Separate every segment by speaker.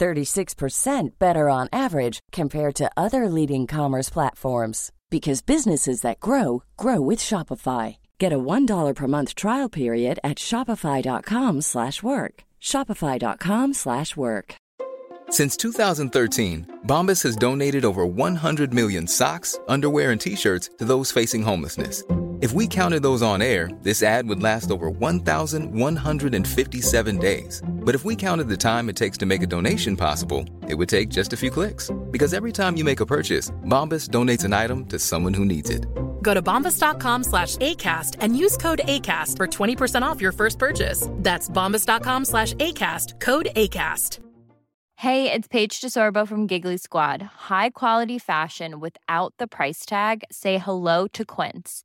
Speaker 1: 36% better on average compared to other leading commerce platforms because businesses that grow grow with Shopify. Get a $1 per month trial period at shopify.com/work. shopify.com/work.
Speaker 2: Since 2013, Bombas has donated over 100 million socks, underwear, and t shirts to those facing homelessness. If we counted those on air, this ad would last over 1,157 days. But if we counted the time it takes to make a donation possible, it would take just a few clicks. Because every time you make a purchase, Bombas donates an item to someone who needs it.
Speaker 3: Go to bombas.com slash ACAST and use code ACAST for 20% off your first purchase. That's bombas.com slash ACAST, code ACAST.
Speaker 4: Hey, it's Paige DeSorbo from Giggly Squad. High quality fashion without the price tag. Say hello to Quince.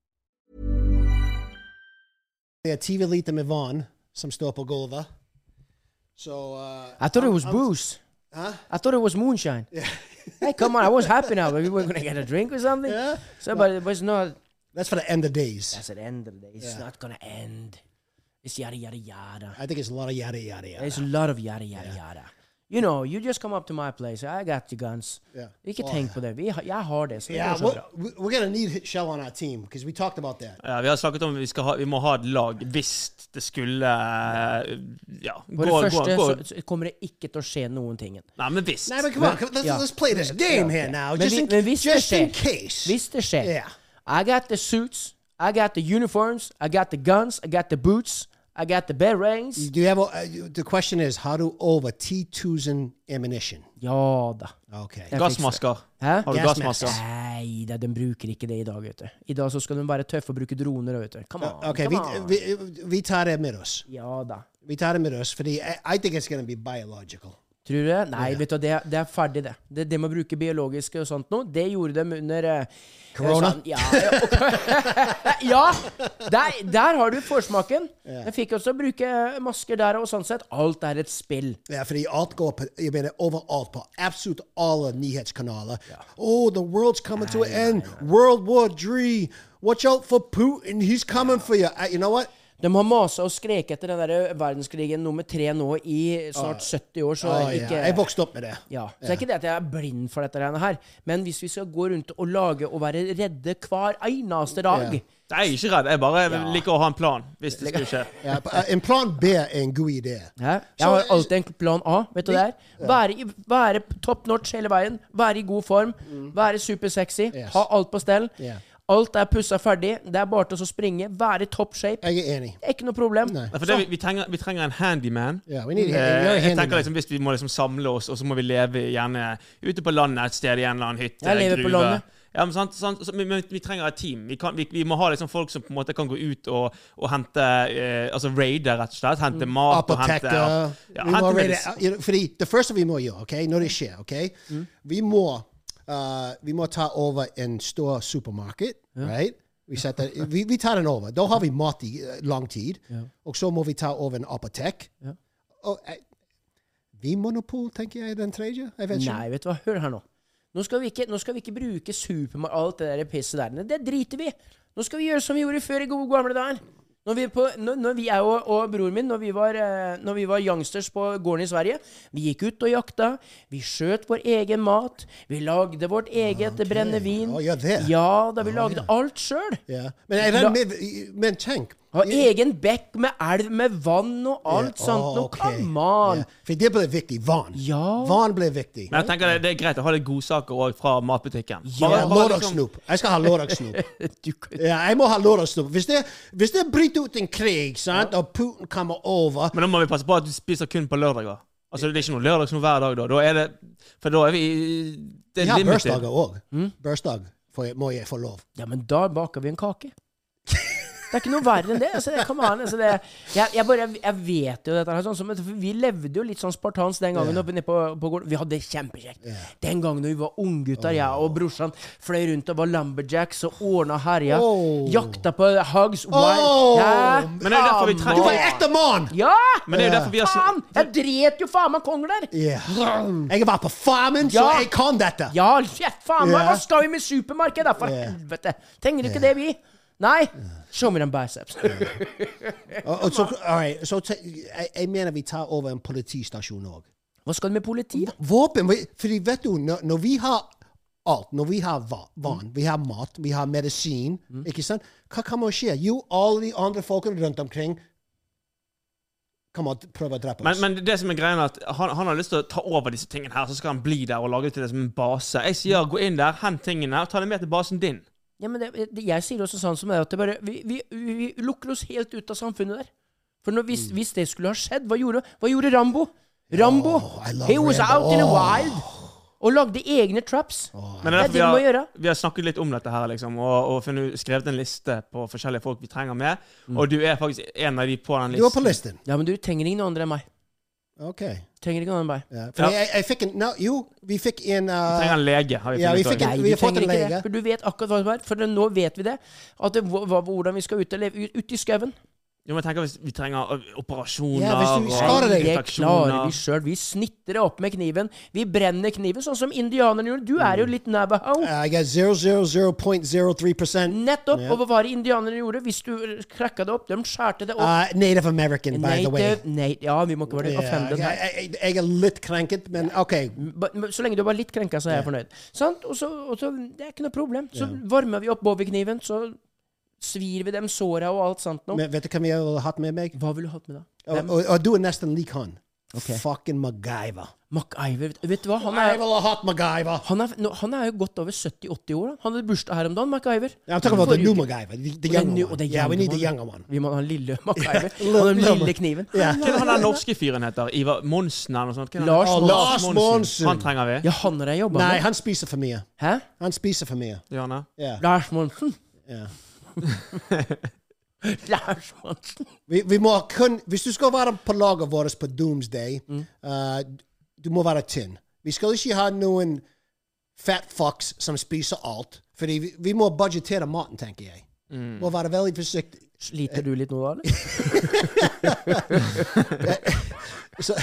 Speaker 5: Det är Tiva Lita med Vaughn som står på golvet. So, uh,
Speaker 6: I thought it
Speaker 5: I'm-
Speaker 6: was
Speaker 5: I'm-
Speaker 6: booze.
Speaker 5: Huh?
Speaker 6: I thought it was moonshine. hey, come on! I was happy now. We were gonna get a drink or something.
Speaker 5: Yeah.
Speaker 6: So, but it was not.
Speaker 5: That's for the end of days.
Speaker 6: That's the end of the day. It's
Speaker 5: Yeah.
Speaker 6: not gonna end. It's yada yada yada.
Speaker 5: I think it's a lot of yada yada yada.
Speaker 6: There's a lot of yada yada yada. You know, you just come up to my place. I got the guns.
Speaker 5: Yeah.
Speaker 6: Vi kan
Speaker 5: Oh,
Speaker 6: tänka på det. Vi, har- jag har det. så det går
Speaker 5: yeah,
Speaker 6: så
Speaker 5: we're,
Speaker 6: bra.
Speaker 5: we're gonna need Shell on our team because we talked about that.
Speaker 7: Ja, vi har snakket om at vi, skal ha, vi må ha et lag hvis det skulle eh, Ja,
Speaker 6: På
Speaker 7: gå,
Speaker 6: det
Speaker 7: gå,
Speaker 6: første
Speaker 7: gå.
Speaker 6: så, så kommer det ikke til å skje noen ting.
Speaker 7: Nei, men hvis.
Speaker 5: Nah, but come on, come, let's,
Speaker 6: yeah.
Speaker 5: let's play this game here now, just,
Speaker 6: vi-
Speaker 5: in,
Speaker 6: hvis det
Speaker 5: just in
Speaker 6: skjer-
Speaker 5: case.
Speaker 6: Hvis det skjer.
Speaker 5: Yeah.
Speaker 6: I got the suits. I got the uniforms. I got the guns. I got the boots. I got the bearings.
Speaker 5: Do you have a, uh, you- the question is how to over T2s and ammunition?
Speaker 6: Ja da.
Speaker 5: Okay.
Speaker 7: Gassmasker.
Speaker 6: Hæ?
Speaker 7: Har du
Speaker 5: Gasmask.
Speaker 7: gassmasker?
Speaker 6: Nei da, den bruker ikke det i dag, vet du. I dag så skal den være tøff og bruke droner, vet du. Come on.
Speaker 5: Uh, Okay,
Speaker 6: come
Speaker 5: vi,
Speaker 6: on.
Speaker 5: vi, vi tar det med oss.
Speaker 6: Ja da.
Speaker 5: Vi tar det med oss, fordi I, I think it's going to be biological.
Speaker 6: Tror du det? Nei, vet du, det, er- det er ferdig, det. det. Det med å bruke biologiske og sånt noe, det gjorde dem under eh,
Speaker 5: Corona.
Speaker 6: sånn- ja, ok. ja! Der, der har du forsmaken. Jeg fikk også bruke eh, masker der og sånn sett. Alt er et spill.
Speaker 5: Ja, fordi alt går på, jeg mener overalt på absolutt alle nyhetskanaler. Oh, the world's coming to an end. World War III. Watch out for Putin. He's coming for you. Uh, you know what?
Speaker 6: De har masa og skreket etter den der eh, verdenskrigen nummer tre nå i snart 70 år, så
Speaker 5: Oh, ja.
Speaker 6: ikke
Speaker 5: Jeg vokste opp med det.
Speaker 6: Ja, så det er ikke det at jeg er blind for dette greiene her, men hvis vi skal gå rundt og lage og være redde hver eneste dag
Speaker 7: Nei, jeg er ikke redd. Jeg bare liker å ha en plan hvis det skulle skje.
Speaker 5: Ja, uh, en plan B er en god idé.
Speaker 6: Hæ? Jeg
Speaker 5: Så-
Speaker 6: har alltid en plan A, vet du det er? Være, i- være top notch hele veien, være i god form, være supersexy,
Speaker 5: Mm. Yes.
Speaker 6: ha alt på stell.
Speaker 5: Ja.
Speaker 6: Alt er pussa ferdig, det er bare til å springe, være i top shape.
Speaker 5: Jeg er enig.
Speaker 6: Ikke noe problem.
Speaker 5: Nei.
Speaker 7: Nei, for det, vi, vi, trenger, vi trenger en handyman.
Speaker 5: Ja, vi need a-
Speaker 7: Eh,
Speaker 5: you're a
Speaker 7: jeg
Speaker 5: handyman.
Speaker 7: tenker liksom Hvis vi må liksom samle oss, og så må vi leve gjerne ute på landet et sted i en eller annen hytte.
Speaker 6: Jeg lever på
Speaker 7: gruve.
Speaker 6: landet.
Speaker 7: Ja, men sant, sant, så, men, men vi trenger et team. Vi, kan, vi, vi må ha liksom folk som på en måte kan gå ut og, og hente eh, Altså raide, rett og slett. Hente mat og hente
Speaker 5: Apoteker.
Speaker 7: ja,
Speaker 5: vi må
Speaker 7: hente
Speaker 5: rede,
Speaker 7: medis-
Speaker 5: you know, fordi det første vi må gjøre ok, når det skjer ok,
Speaker 7: Mm.
Speaker 5: vi, må, uh, vi må ta over en stor supermarked. Right? Vi, setter, vi, vi tar den over. Da har vi mat i uh, lang tid. Og så må vi ta over en apotek. Og, eh, vi monopol, tenker jeg, den tredje. Jeg vet ikke.
Speaker 6: Nei, vet du hva, hør her nå. Nå skal vi ikke, nå skal vi ikke bruke supermarked alt det der pisset der. Nei, Det driter vi. Nå skal vi gjøre som vi gjorde før i gode gamle dager. Når vi, på, når, når vi jeg og, og broren min, når vi, var, eh, når vi var youngsters på gården i Sverige, vi gikk ut og jakta, vi skjøt vår egen mat, vi lagde vårt eget brennevin.
Speaker 5: Oh, you're there.
Speaker 6: Ja, da vi lagde alt sjøl.
Speaker 5: Ja. Men, jeg, regner med- men tenk,
Speaker 6: Ha egen bekk med elv med vann og alt sånt. Nå,
Speaker 5: ok.
Speaker 6: come on!
Speaker 5: Ja, For det ble viktig. Vann.
Speaker 6: Ja.
Speaker 5: Vann ble viktig.
Speaker 7: Men jeg tenker det, det er greit å ha litt godsaker òg fra matbutikken.
Speaker 5: Ja,
Speaker 7: Bare- bare liksom-
Speaker 5: Lørdagssnop. Jeg skal ha lørdagssnop.
Speaker 6: Du kan-
Speaker 5: Ja, jeg må ha lørdagssnop. Hvis, det- hvis det bryter ut en krig, sant, og Putin kommer over
Speaker 7: Men da må vi passe på at du spiser kun på lørdager. Altså, det er ikke noe lørdags noe hver dag, da. da er det, for da er vi i-
Speaker 5: Vi
Speaker 7: Det er Mm.
Speaker 5: har
Speaker 7: limited.
Speaker 5: bursdager òg. Bursdag får jeg- må jeg få lov.
Speaker 6: Ja, men da baker vi en kake. Det er ikke noe verre enn det. Altså, det come on, altså, det, jeg, jeg, bare, jeg vet jo dette. her sånn, som- for Vi levde jo litt sånn spartans den gangen. oppe nede på, på gården. Vi hadde det kjempekjekt. Den gangen vi var unggutter, jeg og brorsan fløy rundt og var lumberjacks og ordna herja.
Speaker 5: Oh.
Speaker 6: Jakta på hogs.
Speaker 5: Oh.
Speaker 6: Ja,
Speaker 7: Men det er derfor vi trenger-
Speaker 5: Du var ekte mann!
Speaker 6: Ja!
Speaker 7: Men det er jo derfor vi har så-
Speaker 6: Faen! Jeg dret jo faen meg kongler!
Speaker 5: Ja. Jeg var på farmen, så
Speaker 6: Ja.
Speaker 5: jeg kan dette.
Speaker 6: Ja, ja, faen meg!
Speaker 5: Ja.
Speaker 6: Hva skal vi med supermarked, da? For
Speaker 5: Ja.
Speaker 6: helvete! Trenger du ikke det, vi? Nei? Show me them biceps.
Speaker 5: Og, og så, all right, så te, jeg, jeg mener vi tar over en politistasjon òg.
Speaker 6: Hva skal du med politi? da?
Speaker 5: Våpen vi- fordi vet du, når, når vi har alt, når vi har va- vann, vi har mat, vi har medisin
Speaker 7: Mm.
Speaker 5: ikke sant? Hva kommer å skje? Jo, alle de andre folkene rundt omkring kommer å prøve å drepe
Speaker 7: Men,
Speaker 5: oss.
Speaker 7: men det som er greien er at han, han har lyst til å ta over disse tingene her, så skal han bli der og lage det til det som en base. Jeg sier gå inn der, hent tingene, ta dem med til basen din.
Speaker 6: Ja, men det, det, jeg sier også sånn som det, at det bare, vi, vi, vi vi lukker oss helt ut av samfunnet der. For når, hvis, hvis det skulle ha skjedd, hva gjorde, hva gjorde Rambo? Rambo!
Speaker 5: I love
Speaker 6: He was
Speaker 5: Rambo.
Speaker 6: out in the
Speaker 5: Åh.
Speaker 6: wild! Og lagde egne traps.
Speaker 7: Men
Speaker 6: Det
Speaker 7: det er
Speaker 6: er det
Speaker 7: derfor
Speaker 6: vi må
Speaker 7: vi har,
Speaker 6: gjøre.
Speaker 7: vi har snakket litt om dette her, liksom, og, og funnet, skrevet en liste på forskjellige folk vi trenger med. Og du er faktisk en av de på den
Speaker 5: Mm. du var på
Speaker 7: listen.
Speaker 5: listen.
Speaker 6: Ja, men du trenger ingen andre enn meg.
Speaker 5: Ok.
Speaker 6: Trenger ikke noen enn meg.
Speaker 5: Ja. Fordi jeg, jeg fikk en no, Jo, vi fikk en
Speaker 7: Vi
Speaker 5: uh,
Speaker 7: trenger en lege, har vi
Speaker 5: Ja, vi
Speaker 7: funnet
Speaker 5: fikk
Speaker 7: ut.
Speaker 5: en-
Speaker 7: av.
Speaker 6: Nei,
Speaker 5: vi er
Speaker 6: du
Speaker 5: har fått
Speaker 6: trenger
Speaker 5: en
Speaker 6: ikke
Speaker 5: lege.
Speaker 6: det. For du vet akkurat hva som er. For nå vet vi det. At det, hva, hva- hvordan vi skal ut, eller, ut, ut i skauen.
Speaker 7: Jo, men jeg tenker hvis vi trenger ø, operasjoner
Speaker 5: Ja, hvis du skader deg.
Speaker 6: Det klarer vi
Speaker 7: infeksjoner.
Speaker 6: sjøl. Vi snitter det opp med kniven. Vi brenner kniven, sånn som indianerne gjorde. Du er jo litt navaho.
Speaker 5: Jeg er 000.03
Speaker 6: Nettopp! Og hva var det indianerne gjorde? Hvis du krakka det opp, de skjærte det opp.
Speaker 5: uh, Native American, by the way.
Speaker 6: Native, nei, ja, vi må ikke være
Speaker 5: Ja,
Speaker 6: offended
Speaker 5: jeg,
Speaker 6: her.
Speaker 5: jeg, jeg er litt krenket, men OK.
Speaker 6: Ba- men Så lenge du var litt krenka, så er jeg fornøyd. Sant? Og så, og så Det er ikke noe problem. Så varmer vi opp bowiekniven, så svir vi dem såra og alt sånt noe.
Speaker 5: Men vet du hvem jeg har hatt med meg?
Speaker 6: Hva ville du hatt med da?
Speaker 5: Og,
Speaker 6: Hvem?
Speaker 5: og, og du er nesten lik han. Fucking MacGyver.
Speaker 6: MacGyver. Vet, vet du hva? Han
Speaker 5: Jeg
Speaker 6: er,
Speaker 5: ville hatt MacGyver.
Speaker 6: han, er, nå- han er jo godt over 70-80 år. da. Han hadde bursdag her om dagen, MacGyver.
Speaker 5: I'm talking about the
Speaker 6: Forrige
Speaker 5: new
Speaker 6: uke.
Speaker 5: MacGyver. The, the
Speaker 6: Og den
Speaker 5: younger
Speaker 6: nye- og
Speaker 5: one.
Speaker 6: den
Speaker 5: Yeah, we need the
Speaker 6: younger
Speaker 5: younger one.
Speaker 6: Vi må ha den lille MacGyver.
Speaker 5: Yeah.
Speaker 6: Og den
Speaker 5: Lille-
Speaker 6: lille kniven.
Speaker 5: Yeah.
Speaker 7: Hva er det han der norske fyren heter? Ivar Monsen eller noe sånt? Hva er det?
Speaker 6: Lars
Speaker 5: Å, Lars
Speaker 7: Monsen.
Speaker 5: Monsen.
Speaker 7: Han trenger vi.
Speaker 6: Ja, han har jeg jobba
Speaker 5: Nei,
Speaker 6: med.
Speaker 5: han spiser for mye.
Speaker 6: Hæ?
Speaker 5: Han spiser for mye.
Speaker 7: Bjarne.
Speaker 5: Yeah.
Speaker 6: Lars Monsen?
Speaker 5: Yeah.
Speaker 6: Lars Monsen.
Speaker 5: Vi, vi må kun, hvis du skal være på laget vårt på Doomsday, eh, du må være tynn. Vi skal ikke ha noen fat fucks som spiser alt. Fordi vi, vi må budsjettere maten, tenker jeg. Må være veldig forsiktig.
Speaker 6: Sliter du litt nå, da? eller?
Speaker 5: Så,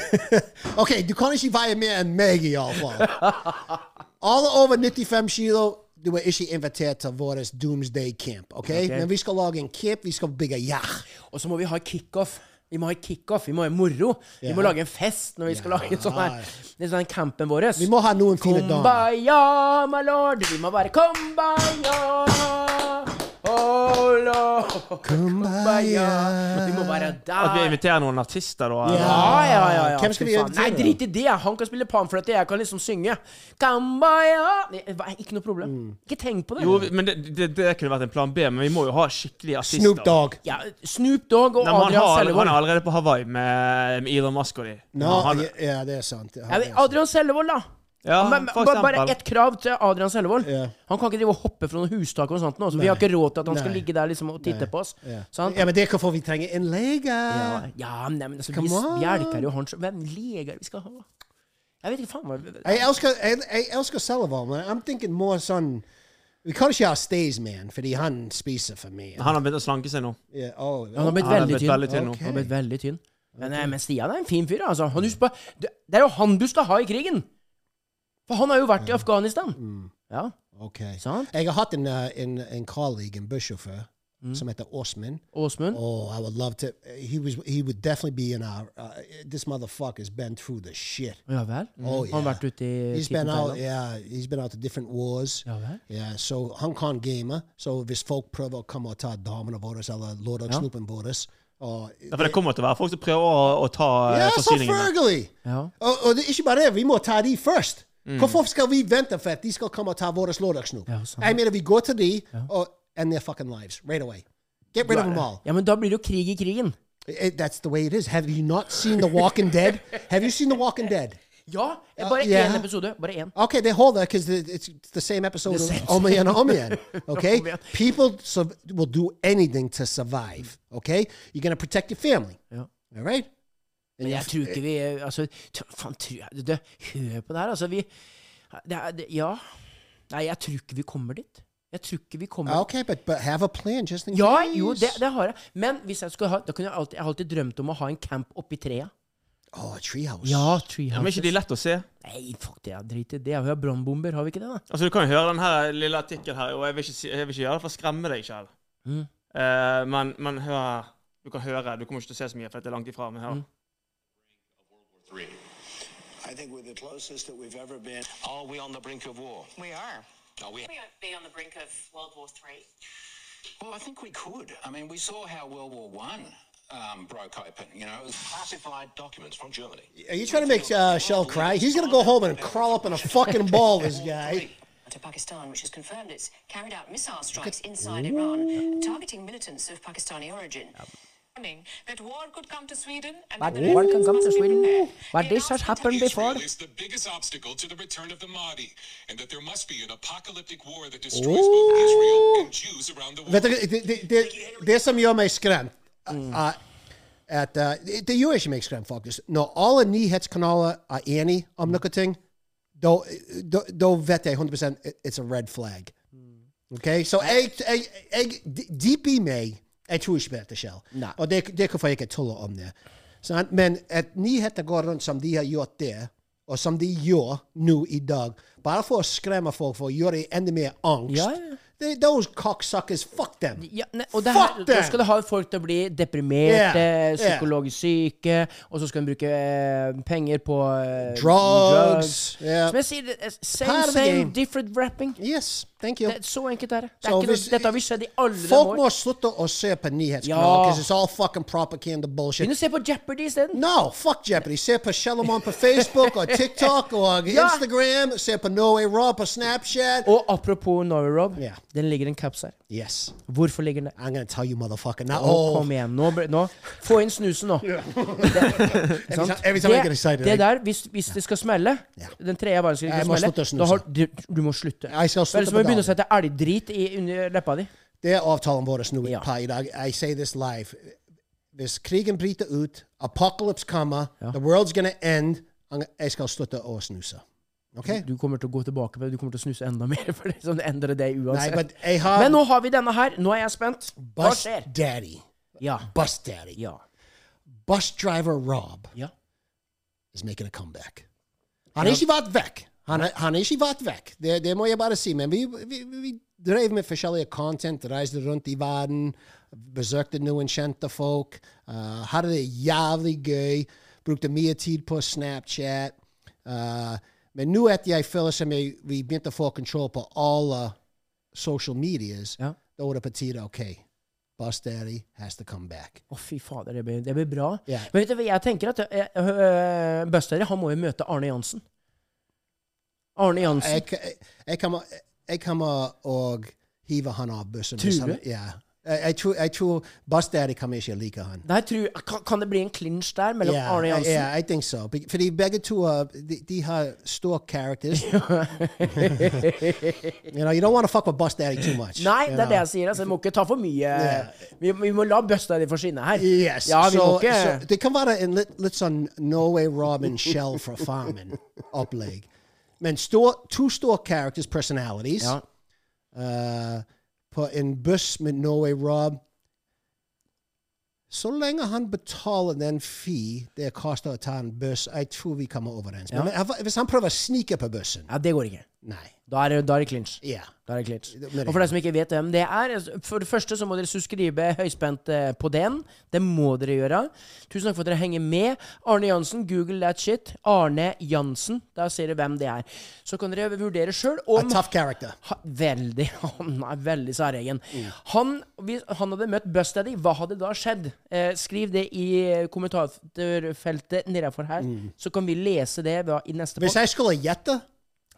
Speaker 5: ok, du kan ikke veie mer enn meg, iallfall. Alle over 95 kilo, du er ikke invitert til vår Doomsday camp. ok? Men vi skal lage en camp, vi skal bygge jach.
Speaker 6: Og så må vi ha kickoff. Vi må ha kickoff, vi må ha moro. Vi må
Speaker 5: Ja.
Speaker 6: lage en fest når vi skal lage en sånn
Speaker 5: Ja.
Speaker 6: her. En sånn campen vår.
Speaker 5: Vi må ha noen fine damer.
Speaker 6: Kumbaya, my lord. Vi må være kumbaya. Oh, lord. Kumbaya. Vi må være
Speaker 7: At vi
Speaker 6: der.
Speaker 7: inviterer noen artister, da. eller?
Speaker 5: Ja.
Speaker 6: Ja, Ah, ja, ja, ja.
Speaker 5: Hvem skal
Speaker 6: Fy
Speaker 5: vi
Speaker 6: faen.
Speaker 5: invitere,
Speaker 6: Nei,
Speaker 5: da?
Speaker 6: drit i det. Han kan spille panfløyte, jeg kan liksom synge. Kumbaya. Nei, hva- Ikke noe problem.
Speaker 5: Mm.
Speaker 6: Ikke tenk på det.
Speaker 7: Jo, vi- men det, det, det kunne vært en plan B, men vi må jo ha skikkelige artister.
Speaker 5: Snoop Dogg.
Speaker 6: Ja, Snoop Dogg og
Speaker 7: Nei, men han,
Speaker 6: Adrian
Speaker 7: har, han er
Speaker 6: Sellevold.
Speaker 7: allerede på Hawaii med, med Elon Musk og de.
Speaker 5: No,
Speaker 7: Han- han,
Speaker 5: ja, ja, det er sant. Ja, det
Speaker 6: Ja, men
Speaker 5: er sant.
Speaker 6: Adrian Sellevold, da.
Speaker 7: ja,
Speaker 6: Men,
Speaker 7: for
Speaker 6: bare, bare
Speaker 7: eksempel.
Speaker 6: ett krav til Adrian Sellevold.
Speaker 5: Ja.
Speaker 6: Han kan ikke drive og hoppe fra noen hustak. og sånt nå, så Vi har ikke råd til at han skal
Speaker 5: Nei.
Speaker 6: ligge der liksom og titte på oss.
Speaker 5: Ja.
Speaker 6: Sant?
Speaker 5: ja, men det er hvorfor vi trenger en lege.
Speaker 6: Ja, ja, nei, men altså, vi
Speaker 5: Come on.
Speaker 6: bjelker jo han så- Hvem leger vi skal ha? Jeg vet ikke faen hva
Speaker 5: Jeg elsker, jeg, jeg elsker Sellevold, men I'm thinking more sånn Vi kan ikke ha Staysman, fordi han spiser for mye.
Speaker 7: han har begynt å slanke seg nå.
Speaker 5: Ja, oh,
Speaker 6: Han har
Speaker 5: oh.
Speaker 6: blitt
Speaker 7: Han har
Speaker 6: veldig
Speaker 7: blitt
Speaker 6: tynn.
Speaker 7: veldig tynn nå.
Speaker 5: Ok.
Speaker 6: Han har blitt veldig tynn. Men, eh, men Stian er en fin fyr. altså. Han, husk på, det det er jo han du skal ha i krigen! For han har jo vært i Afghanistan. Ja,
Speaker 5: Okay.
Speaker 6: sant?
Speaker 5: Jeg har hatt en, eh, en, en colleague, en bussjåfør,
Speaker 6: Mm.
Speaker 5: som heter Åsmund.
Speaker 6: Åsmund?
Speaker 5: Oh, I would love to. He was. He would definitely be in our. Uh, this motherfucker's been through the shit.
Speaker 6: Ja vel?
Speaker 5: Oh,
Speaker 6: Har han
Speaker 5: yeah.
Speaker 6: vært ute i
Speaker 5: He's
Speaker 6: Keep in
Speaker 5: been out.
Speaker 6: Thailand?
Speaker 5: Yeah, he's been out to different wars.
Speaker 6: Ja vel?
Speaker 5: Yeah, so Hong Kong gamer. So hvis folk prøver å komme og ta damene våre eller lørdagssnopen vår og
Speaker 7: Ja, For det kommer til å være folk som prøver å, å ta eh,
Speaker 5: Ja,
Speaker 7: forsyningene.
Speaker 5: selvfølgelig!
Speaker 6: Ja.
Speaker 5: Og, og det er ikke bare det, vi må ta de først. Hvorfor skal vi vente for at de skal komme og ta vår lørdagssnop?
Speaker 6: Ja, sant.
Speaker 5: Jeg mener, vi går til de og uh, end their fucking lives right away. Get rid of them all.
Speaker 6: ja, men da blir det jo krig i krigen.
Speaker 5: It- that's the way it is. Have you not seen The Walking Dead? Have you seen The Walking Dead?
Speaker 6: Ja! Bare
Speaker 5: Ja.
Speaker 6: én episode. Bare én.
Speaker 5: Okay, they hold that because it's the same episode
Speaker 6: The same-
Speaker 5: of Omi and Omi. and, Okay,
Speaker 6: Oh, man.
Speaker 5: people su- will do anything to survive. Okay, you're gonna protect your family.
Speaker 6: Ja.
Speaker 5: All right.
Speaker 6: Men jeg tror ikke vi eh, altså, t- Faen, tror jeg du, Hør på det her, altså. Vi det er, det, Ja. Nei, jeg tror ikke vi kommer dit. Jeg tror ikke vi kommer dit.
Speaker 5: Okay, but but have a plan just in
Speaker 6: Ja,
Speaker 5: case.
Speaker 6: jo, det, det har jeg. Men hvis jeg skulle ha Da kunne jeg alltid Jeg har alltid drømt om å ha en camp oppi trea.
Speaker 5: oh, a treehouse.
Speaker 7: Ja, men er ikke de lett å se?
Speaker 6: Nei, fuck det, jeg driter i det. Vi har brannbomber, har vi ikke det, da?
Speaker 7: Altså, Du kan jo høre den her lille artikkelen her, og jeg vil ikke, si- jeg vil ikke gjøre det for å skremme deg selv.
Speaker 6: Mm.
Speaker 7: Eh, men, men hør Du kan høre. Du kommer ikke til å se så mye, for dette er langt ifra. Men hør.
Speaker 6: Mm.
Speaker 8: I think we're the closest that we've ever been. Are we on the brink of war?
Speaker 9: We are.
Speaker 8: No, we.
Speaker 9: We might be on the brink of World War Three.
Speaker 8: Well, I think we could. I mean, we saw how World War One um, broke open. You know, it was classified documents from Germany.
Speaker 5: Are you trying to make uh, Shell cry? He's gonna go home and crawl up in a fucking ball. This guy.
Speaker 9: To Pakistan, which has confirmed it's carried out missile strikes inside Iran, targeting militants of Pakistani origin. Warning That war could come to Sweden and
Speaker 6: But
Speaker 9: that the
Speaker 6: war can
Speaker 9: rebels
Speaker 6: come to
Speaker 9: must be
Speaker 6: Sweden.
Speaker 9: prepared.
Speaker 6: But
Speaker 9: The
Speaker 6: this has
Speaker 9: announcement
Speaker 6: happened
Speaker 9: has-
Speaker 6: before.
Speaker 10: Israel is the biggest obstacle to the return of the Mahdi, and that there must be an apocalyptic war that destroys both Israel and Jews around the
Speaker 5: Vet
Speaker 10: world.
Speaker 5: du, det, det, det, det som gjør meg skremt
Speaker 6: Mm.
Speaker 5: er at, uh, det, det gjør ikke meg skremt, faktisk. Når alle nyhetskanaler er enige om noe ting, da da- da vet jeg 100 it- it's a red flag.
Speaker 6: Hmm.
Speaker 5: Ok? Så jeg, jeg, jeg d- Deep i meg Jeg tror ikke på dette selv.
Speaker 6: Nei.
Speaker 5: Og det, det er hvorfor jeg ikke tuller om det. Sant? Men at nyheter går rundt som de har gjort det, og som de gjør nå i dag, bare for å skremme folk, for å gjøre dem enda mer angst
Speaker 6: Ja, ja.
Speaker 5: They, those cocksuckers, fuck them.
Speaker 6: Ja, nei, og det
Speaker 5: Fuck
Speaker 6: her, da
Speaker 5: them!
Speaker 6: skal du ha folk til å bli deprimerte,
Speaker 5: Yeah, yeah.
Speaker 6: psykologisk syke, og så skal en bruke eh, penger på eh,
Speaker 5: Drugs, yeah.
Speaker 6: Som jeg sier, det er same,
Speaker 5: Part of the
Speaker 6: same,
Speaker 5: game.
Speaker 6: different wrapping.
Speaker 5: Yes, thank you.
Speaker 6: Det er så enkelt det er. det.
Speaker 5: Så
Speaker 6: er ikke
Speaker 5: hvis-
Speaker 6: noe, dette har vi sett i alle
Speaker 5: Folk
Speaker 6: år.
Speaker 5: må slutte å se på nyhetskanaler,
Speaker 6: Ja.
Speaker 5: because it's all fucking propaganda
Speaker 6: Begynn
Speaker 5: bullshit.
Speaker 6: å se på Jeopardy isteden.
Speaker 5: No, fuck Jeopardy. Se på Shellamon på Facebook og TikTok og
Speaker 6: Ja.
Speaker 5: Instagram. Se på Norway Raw på Snapchat.
Speaker 6: Og apropos Norway Rob,
Speaker 5: Ja.
Speaker 6: den ligger en caps her.
Speaker 5: Yes,
Speaker 6: Hvorfor ligger den der?
Speaker 5: I'm gonna tell you motherfucker. Now,
Speaker 6: Nå,
Speaker 5: oh,
Speaker 6: kom igjen. Nå, ble- nå. Få inn snusen, nå.
Speaker 5: every time, every time I get excited,
Speaker 6: det
Speaker 5: I-
Speaker 6: der, hvis, hvis det skal smelle
Speaker 5: Ja.
Speaker 6: Den tredje bare skal
Speaker 5: Jeg må
Speaker 6: smelle
Speaker 5: slutte å snuse.
Speaker 6: da har, du, du må slutte.
Speaker 5: Jeg skal
Speaker 6: Ellers
Speaker 5: slutte
Speaker 6: må
Speaker 5: på
Speaker 6: vi begynne å
Speaker 5: dagen.
Speaker 6: sette elgdrit i, under leppa di.
Speaker 5: det er avtalen vår nå
Speaker 6: Ja.
Speaker 5: på i dag. I say this live. Hvis krigen bryter ut, apocalypse kommer, the world's gonna end, I'm- jeg skal slutte å snuse. Okay?
Speaker 6: Du kommer til å gå tilbake på det. Du kommer til å snuse enda mer. For det sånn endrer det
Speaker 5: Nei,
Speaker 6: uansett.
Speaker 5: men jeg har
Speaker 6: Men nå har vi denne her. Nå er jeg spent. Hva
Speaker 5: Bus
Speaker 6: skjer?
Speaker 5: Daddy.
Speaker 6: Ja.
Speaker 5: Bus Daddy.
Speaker 6: Ja.
Speaker 5: Bus driver Rob
Speaker 6: ja.
Speaker 5: is making a comeback. Han har ikke vært vekk. Han, er- han har ikke vært vekk. Det, det må jeg bare si. Men vi, vi, vi drev med forskjellige content, reiste rundt i verden, besøkte noen kjente folk, eh, hadde det jævlig gøy, brukte mye tid på Snapchat. eh, men nå etter jeg føler som jeg, vi begynte å få kontroll på alle uh, social medias,
Speaker 6: Ja.
Speaker 5: da var det på tide OK. Bus Daddy has to come back.
Speaker 6: Å, fy fader, det blir, det blir bra.
Speaker 5: Ja.
Speaker 6: Men vet du hva, jeg tenker at uh, Buster han må jo møte Arne Jansen. Arne Jansen.
Speaker 5: jeg, jeg- jeg kommer jeg kommer og hive han av bussen. hvis
Speaker 6: Tror du?
Speaker 5: han- Ja. Jeg, jeg tror, jeg tror Bus Daddy kommer ikke like han.
Speaker 6: Der tror, kan, kan det bli en clinch der mellom
Speaker 5: Ja,
Speaker 6: Arne Jansen?
Speaker 5: Ja, I think so. Be- Fordi begge to er- de, de har store characters. you know, you don't want to fuck with Bus Daddy too much.
Speaker 6: Nei,
Speaker 5: you
Speaker 6: det er det
Speaker 5: know.
Speaker 6: jeg sier. Altså, vi må ikke ta for mye vi, vi må la bøsta di få skinne her.
Speaker 5: Yes.
Speaker 6: Ja, vi
Speaker 5: så,
Speaker 6: må ikke
Speaker 5: så det kan være en litt, litt sånn Norway Robin Shell fra Farmen-opplegg. Men stor, to store characters, personalities.
Speaker 6: ja.
Speaker 5: eh, på en buss med Norway Rob. Så lenge han betaler den fee det koster å ta en buss, jeg tror vi kommer overens. Men hva- hvis han prøver å snike på bussen
Speaker 6: ja, det går ikke.
Speaker 5: Nei.
Speaker 6: Da er det, da er det clinch.
Speaker 5: Ja.
Speaker 6: Da er det clinch.
Speaker 5: Det blir det.
Speaker 6: Og for dere som ikke vet hvem det er, altså, for det første så må dere subscribe høyspent eh, på den. Det må dere gjøre. Tusen takk for at dere henger med. Arne Jansen, google that shit. Arne Jansen. Da ser dere hvem det er. Så kan dere vurdere sjøl
Speaker 5: A
Speaker 6: om
Speaker 5: tough character.
Speaker 6: ha, Veldig. Han er veldig særegen.
Speaker 5: Mm.
Speaker 6: Han, hvis han hadde møtt Bust Daddy, hva hadde da skjedd? Eh, skriv det i kommentarfeltet nedenfor her, så kan vi lese det ved- i neste
Speaker 5: Mm. Hvis
Speaker 6: pod.
Speaker 5: jeg skulle gjette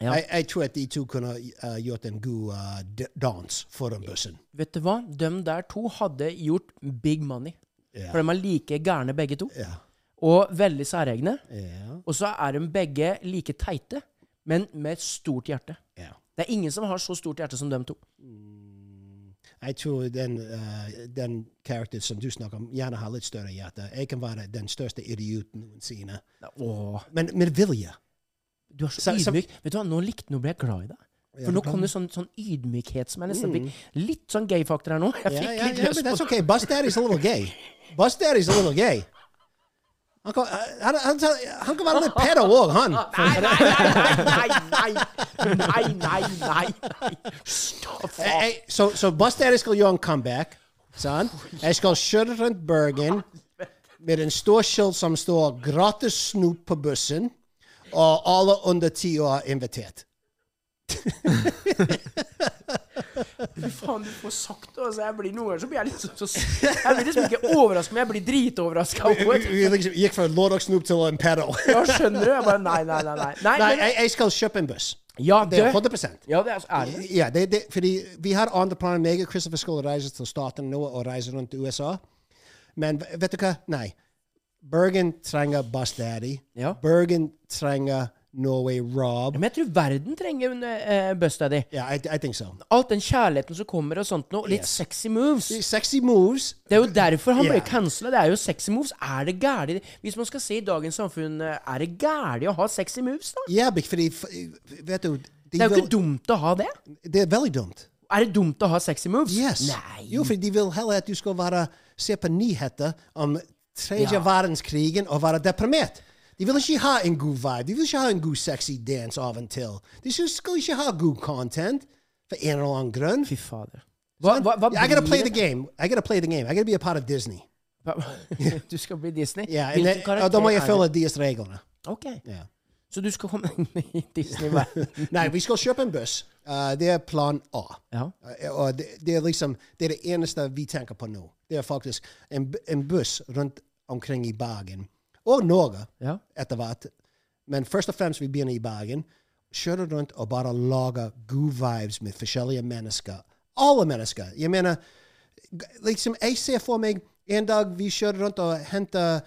Speaker 6: Ja.
Speaker 5: jeg, jeg tror at de to kunne eh, gjort en god eh, d- dans for den bussen.
Speaker 6: Vet du hva? De der to hadde gjort big money.
Speaker 5: Ja.
Speaker 6: For de er like gærne begge to.
Speaker 5: Ja.
Speaker 6: Og veldig særegne.
Speaker 5: Ja.
Speaker 6: Og så er de begge like teite, men med et stort hjerte.
Speaker 5: Ja.
Speaker 6: Det er ingen som har så stort hjerte som dem to.
Speaker 5: Jeg tror den, eh, den karakteren som du snakker om, gjerne har litt større hjerte. Jeg kan være den største idioten noensinne.
Speaker 6: Åh,
Speaker 5: Men med vilje.
Speaker 6: du er så
Speaker 5: Så- så-
Speaker 6: ydmyk. Vet du hva, Nå likte nå ble jeg glad i deg. For nå kom det sånn, sånn ydmykhet som jeg
Speaker 5: Mm.
Speaker 6: nesten fikk Litt sånn gay-faktor her nå. Jeg
Speaker 5: Yeah,
Speaker 6: fikk
Speaker 5: yeah,
Speaker 6: litt
Speaker 5: yeah,
Speaker 6: lyst
Speaker 5: but
Speaker 6: på
Speaker 5: that's okay. Bus Daddy's a little gay. Bus Daddy's a little gay. Han kan, han, han, han kan være litt pedo òg, han.
Speaker 6: Nei, nei, nei, nei, nei, nei, nei, nei, nei. Stopp.
Speaker 5: Eh, eh, Så så Bus Daddy skal gjøre en comeback. Sant? Jeg skal kjøre rundt Bergen med en stor skilt som står 'Gratis snop på bussen', og alle under ti år er invitert.
Speaker 6: Fy faen, du får sagt det. Altså, jeg blir noen ganger så blir jeg litt så, så Jeg blir liksom ikke overraska, men jeg blir dritoverraska.
Speaker 5: Vi vi liksom gikk fra lørdagsnop til en pedo.
Speaker 6: Ja, skjønner du? Jeg bare nei, nei, nei. nei. nei,
Speaker 5: Nei,
Speaker 6: men-
Speaker 5: jeg, jeg skal kjøpe en buss.
Speaker 6: ja,
Speaker 5: Det er
Speaker 6: det-
Speaker 5: 100
Speaker 6: Ja, det er, altså er det.
Speaker 5: Ja, det, det, fordi vi har andre planer. Jeg og Christopher skulle reise til staten nå og reise rundt i USA. Men v- vet du hva? Nei. Bergen trenger Bus Daddy.
Speaker 6: Ja.
Speaker 5: Bergen trenger Norway
Speaker 6: Ja,
Speaker 5: Rob.
Speaker 6: Men jeg tror verden trenger en eh, Bust Daddy.
Speaker 5: Ja, I, I think so.
Speaker 6: Alt den kjærligheten som kommer og sånt noe. Litt
Speaker 5: Yes.
Speaker 6: sexy moves.
Speaker 5: Sexy moves.
Speaker 6: Det er jo derfor han ble
Speaker 5: Ja.
Speaker 6: cancela. Det er jo sexy moves. Er det gærlig? Hvis man skal se i dagens samfunn, eh, er det gærlig å ha sexy moves, da?
Speaker 5: Ja, bec- fordi f- Vet du de
Speaker 6: Det er jo
Speaker 5: vil-
Speaker 6: ikke dumt å ha det.
Speaker 5: Det er veldig dumt.
Speaker 6: Er det dumt å ha sexy moves?
Speaker 5: Yes.
Speaker 6: Nei.
Speaker 5: Jo, fordi de vil heller at du skal være, se på nyheter om tredje
Speaker 6: Ja.
Speaker 5: verdenskrigen og være deprimert. De vil ikke ha en god vibe. De vil ikke ha en god sexy dans av og til. De skal- skal ikke ha god content for en eller annen grunn.
Speaker 6: Fy fader. Hva, hva, hva
Speaker 5: Sånn, I gotta play
Speaker 6: blir-
Speaker 5: the game. I gotta play the game. I gotta be a part of Disney.
Speaker 6: Hva- Du skal bli Disney?
Speaker 5: Yeah,
Speaker 6: Hvilken
Speaker 5: and then,
Speaker 6: karakter
Speaker 5: og da må jeg
Speaker 6: er
Speaker 5: følge
Speaker 6: det?
Speaker 5: deres reglene.
Speaker 6: Ok.
Speaker 5: Ja.
Speaker 6: Så du skal komme inn i Disney-verden?
Speaker 5: Nei, vi skal kjøpe en buss. Uh, det er plan A.
Speaker 6: Ja.
Speaker 5: Uh, og det, det er liksom det er det eneste vi tenker på nå. Det er faktisk en, bu- en buss rundt omkring i Bergen. Og Norge
Speaker 6: Ja.
Speaker 5: etter hvert. Men først og fremst vi begynner i Bergen. Kjøre rundt og bare lage gode vibes med forskjellige mennesker. Alle mennesker. Jeg mener, g- liksom, jeg ser for meg en dag vi kjører rundt og henter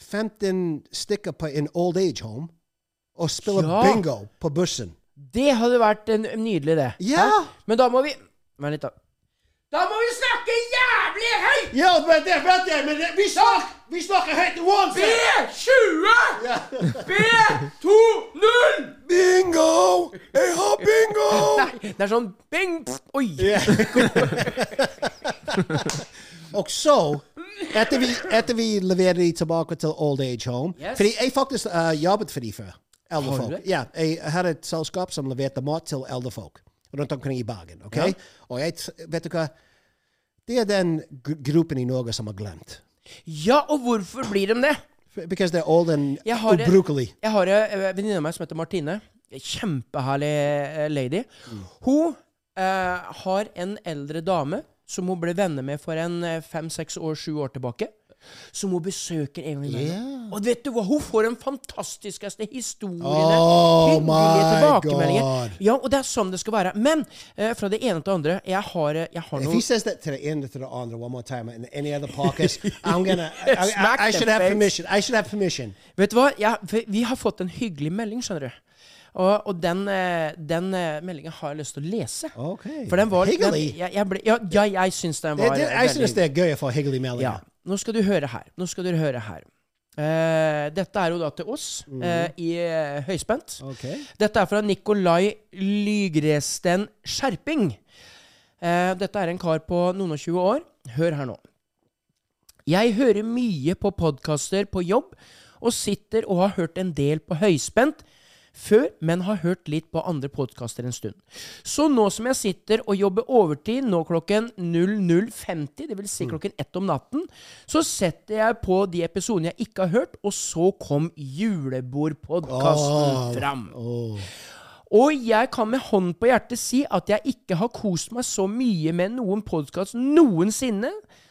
Speaker 5: 15 stykker på en old age home og spiller
Speaker 6: Ja.
Speaker 5: bingo på bussen.
Speaker 6: Det hadde vært en, en nydelig, det.
Speaker 5: Ja!
Speaker 6: Men da må vi Vent litt, da. Da må vi snakke jævlig høyt!
Speaker 5: Ja, men det vet jeg, men det, vi, snakker, vi snakker høyt uansett!
Speaker 6: B20! B20!
Speaker 5: Bingo! Jeg har bingo!
Speaker 6: Nei, det er sånn bing! pff, Oi!
Speaker 5: Og så, etter vi, etter vi leverer de tilbake til Old Age Home
Speaker 6: Yes.
Speaker 5: Fordi jeg faktisk eh, jobbet for de før. Eldre
Speaker 6: Har du
Speaker 5: folk.
Speaker 6: det?
Speaker 5: Ja, jeg hadde et selskap som leverte mat til eldre folk rundt omkring i Bergen. ok?
Speaker 6: Ja.
Speaker 5: Og jeg, t- vet du hva? Det er den gr gruppen i Norge som har glemt.
Speaker 6: Ja, og hvorfor blir de det?
Speaker 5: Because they're old and
Speaker 6: Jeg har det-
Speaker 5: ubrukelig.
Speaker 6: Jeg har eh, en venninne av meg som heter Martine. Kjempeherlig eh, lady.
Speaker 5: Mm.
Speaker 6: Hun eh, har en eldre dame som hun ble venner med for en eh, fem, seks år, sju år tilbake. Som hun besøker en gang imellom. Og vet du hva? Hun får den fantastiskeste historiene.
Speaker 5: Oh my God.
Speaker 6: Ja, og det er sånn det skal være. Men eh, fra det ene til det andre Jeg har, eh, jeg har
Speaker 5: If
Speaker 6: noe
Speaker 5: he says that to the end or to the under one more time in any other podcast, I'm gonna. I, I-
Speaker 6: Smack
Speaker 5: I
Speaker 6: the
Speaker 5: should have
Speaker 6: face.
Speaker 5: permission. I should have permission.
Speaker 6: Vet du hva? Jeg, vi- vi har fått en hyggelig melding, skjønner du. Og, og den, eh, den eh, meldingen har jeg lyst til å lese.
Speaker 5: Okay.
Speaker 6: For den var den,
Speaker 5: Higgly.
Speaker 6: jeg, jeg, ble, ja, ja, jeg syns den
Speaker 5: Det,
Speaker 6: var
Speaker 5: det,
Speaker 6: eh,
Speaker 5: jeg
Speaker 6: veldig
Speaker 5: synes det er gøy å få hyggelig melding.
Speaker 6: ja. Nå skal du høre her. Nå skal dere høre her. Eh, dette er jo da til oss eh, i eh, Høyspent.
Speaker 5: Mhm. Ok.
Speaker 6: Dette er fra Nikolai Lygresten Skjerping. Eh, dette er en kar på noen og 20 år. Hør her nå. Jeg hører mye på podkaster på jobb, og sitter og har hørt en del på Høyspent, før, men har hørt litt på andre podkaster en stund. Så nå som jeg sitter og jobber overtid, nå klokken 00.50, dvs. Si klokken ett om natten, så setter jeg på de episodene jeg ikke har hørt, og så kom julebordpodkasten fram.
Speaker 5: Oh.
Speaker 6: Og jeg kan med hånd på hjertet si at jeg ikke har kost meg så mye med noen podkast noensinne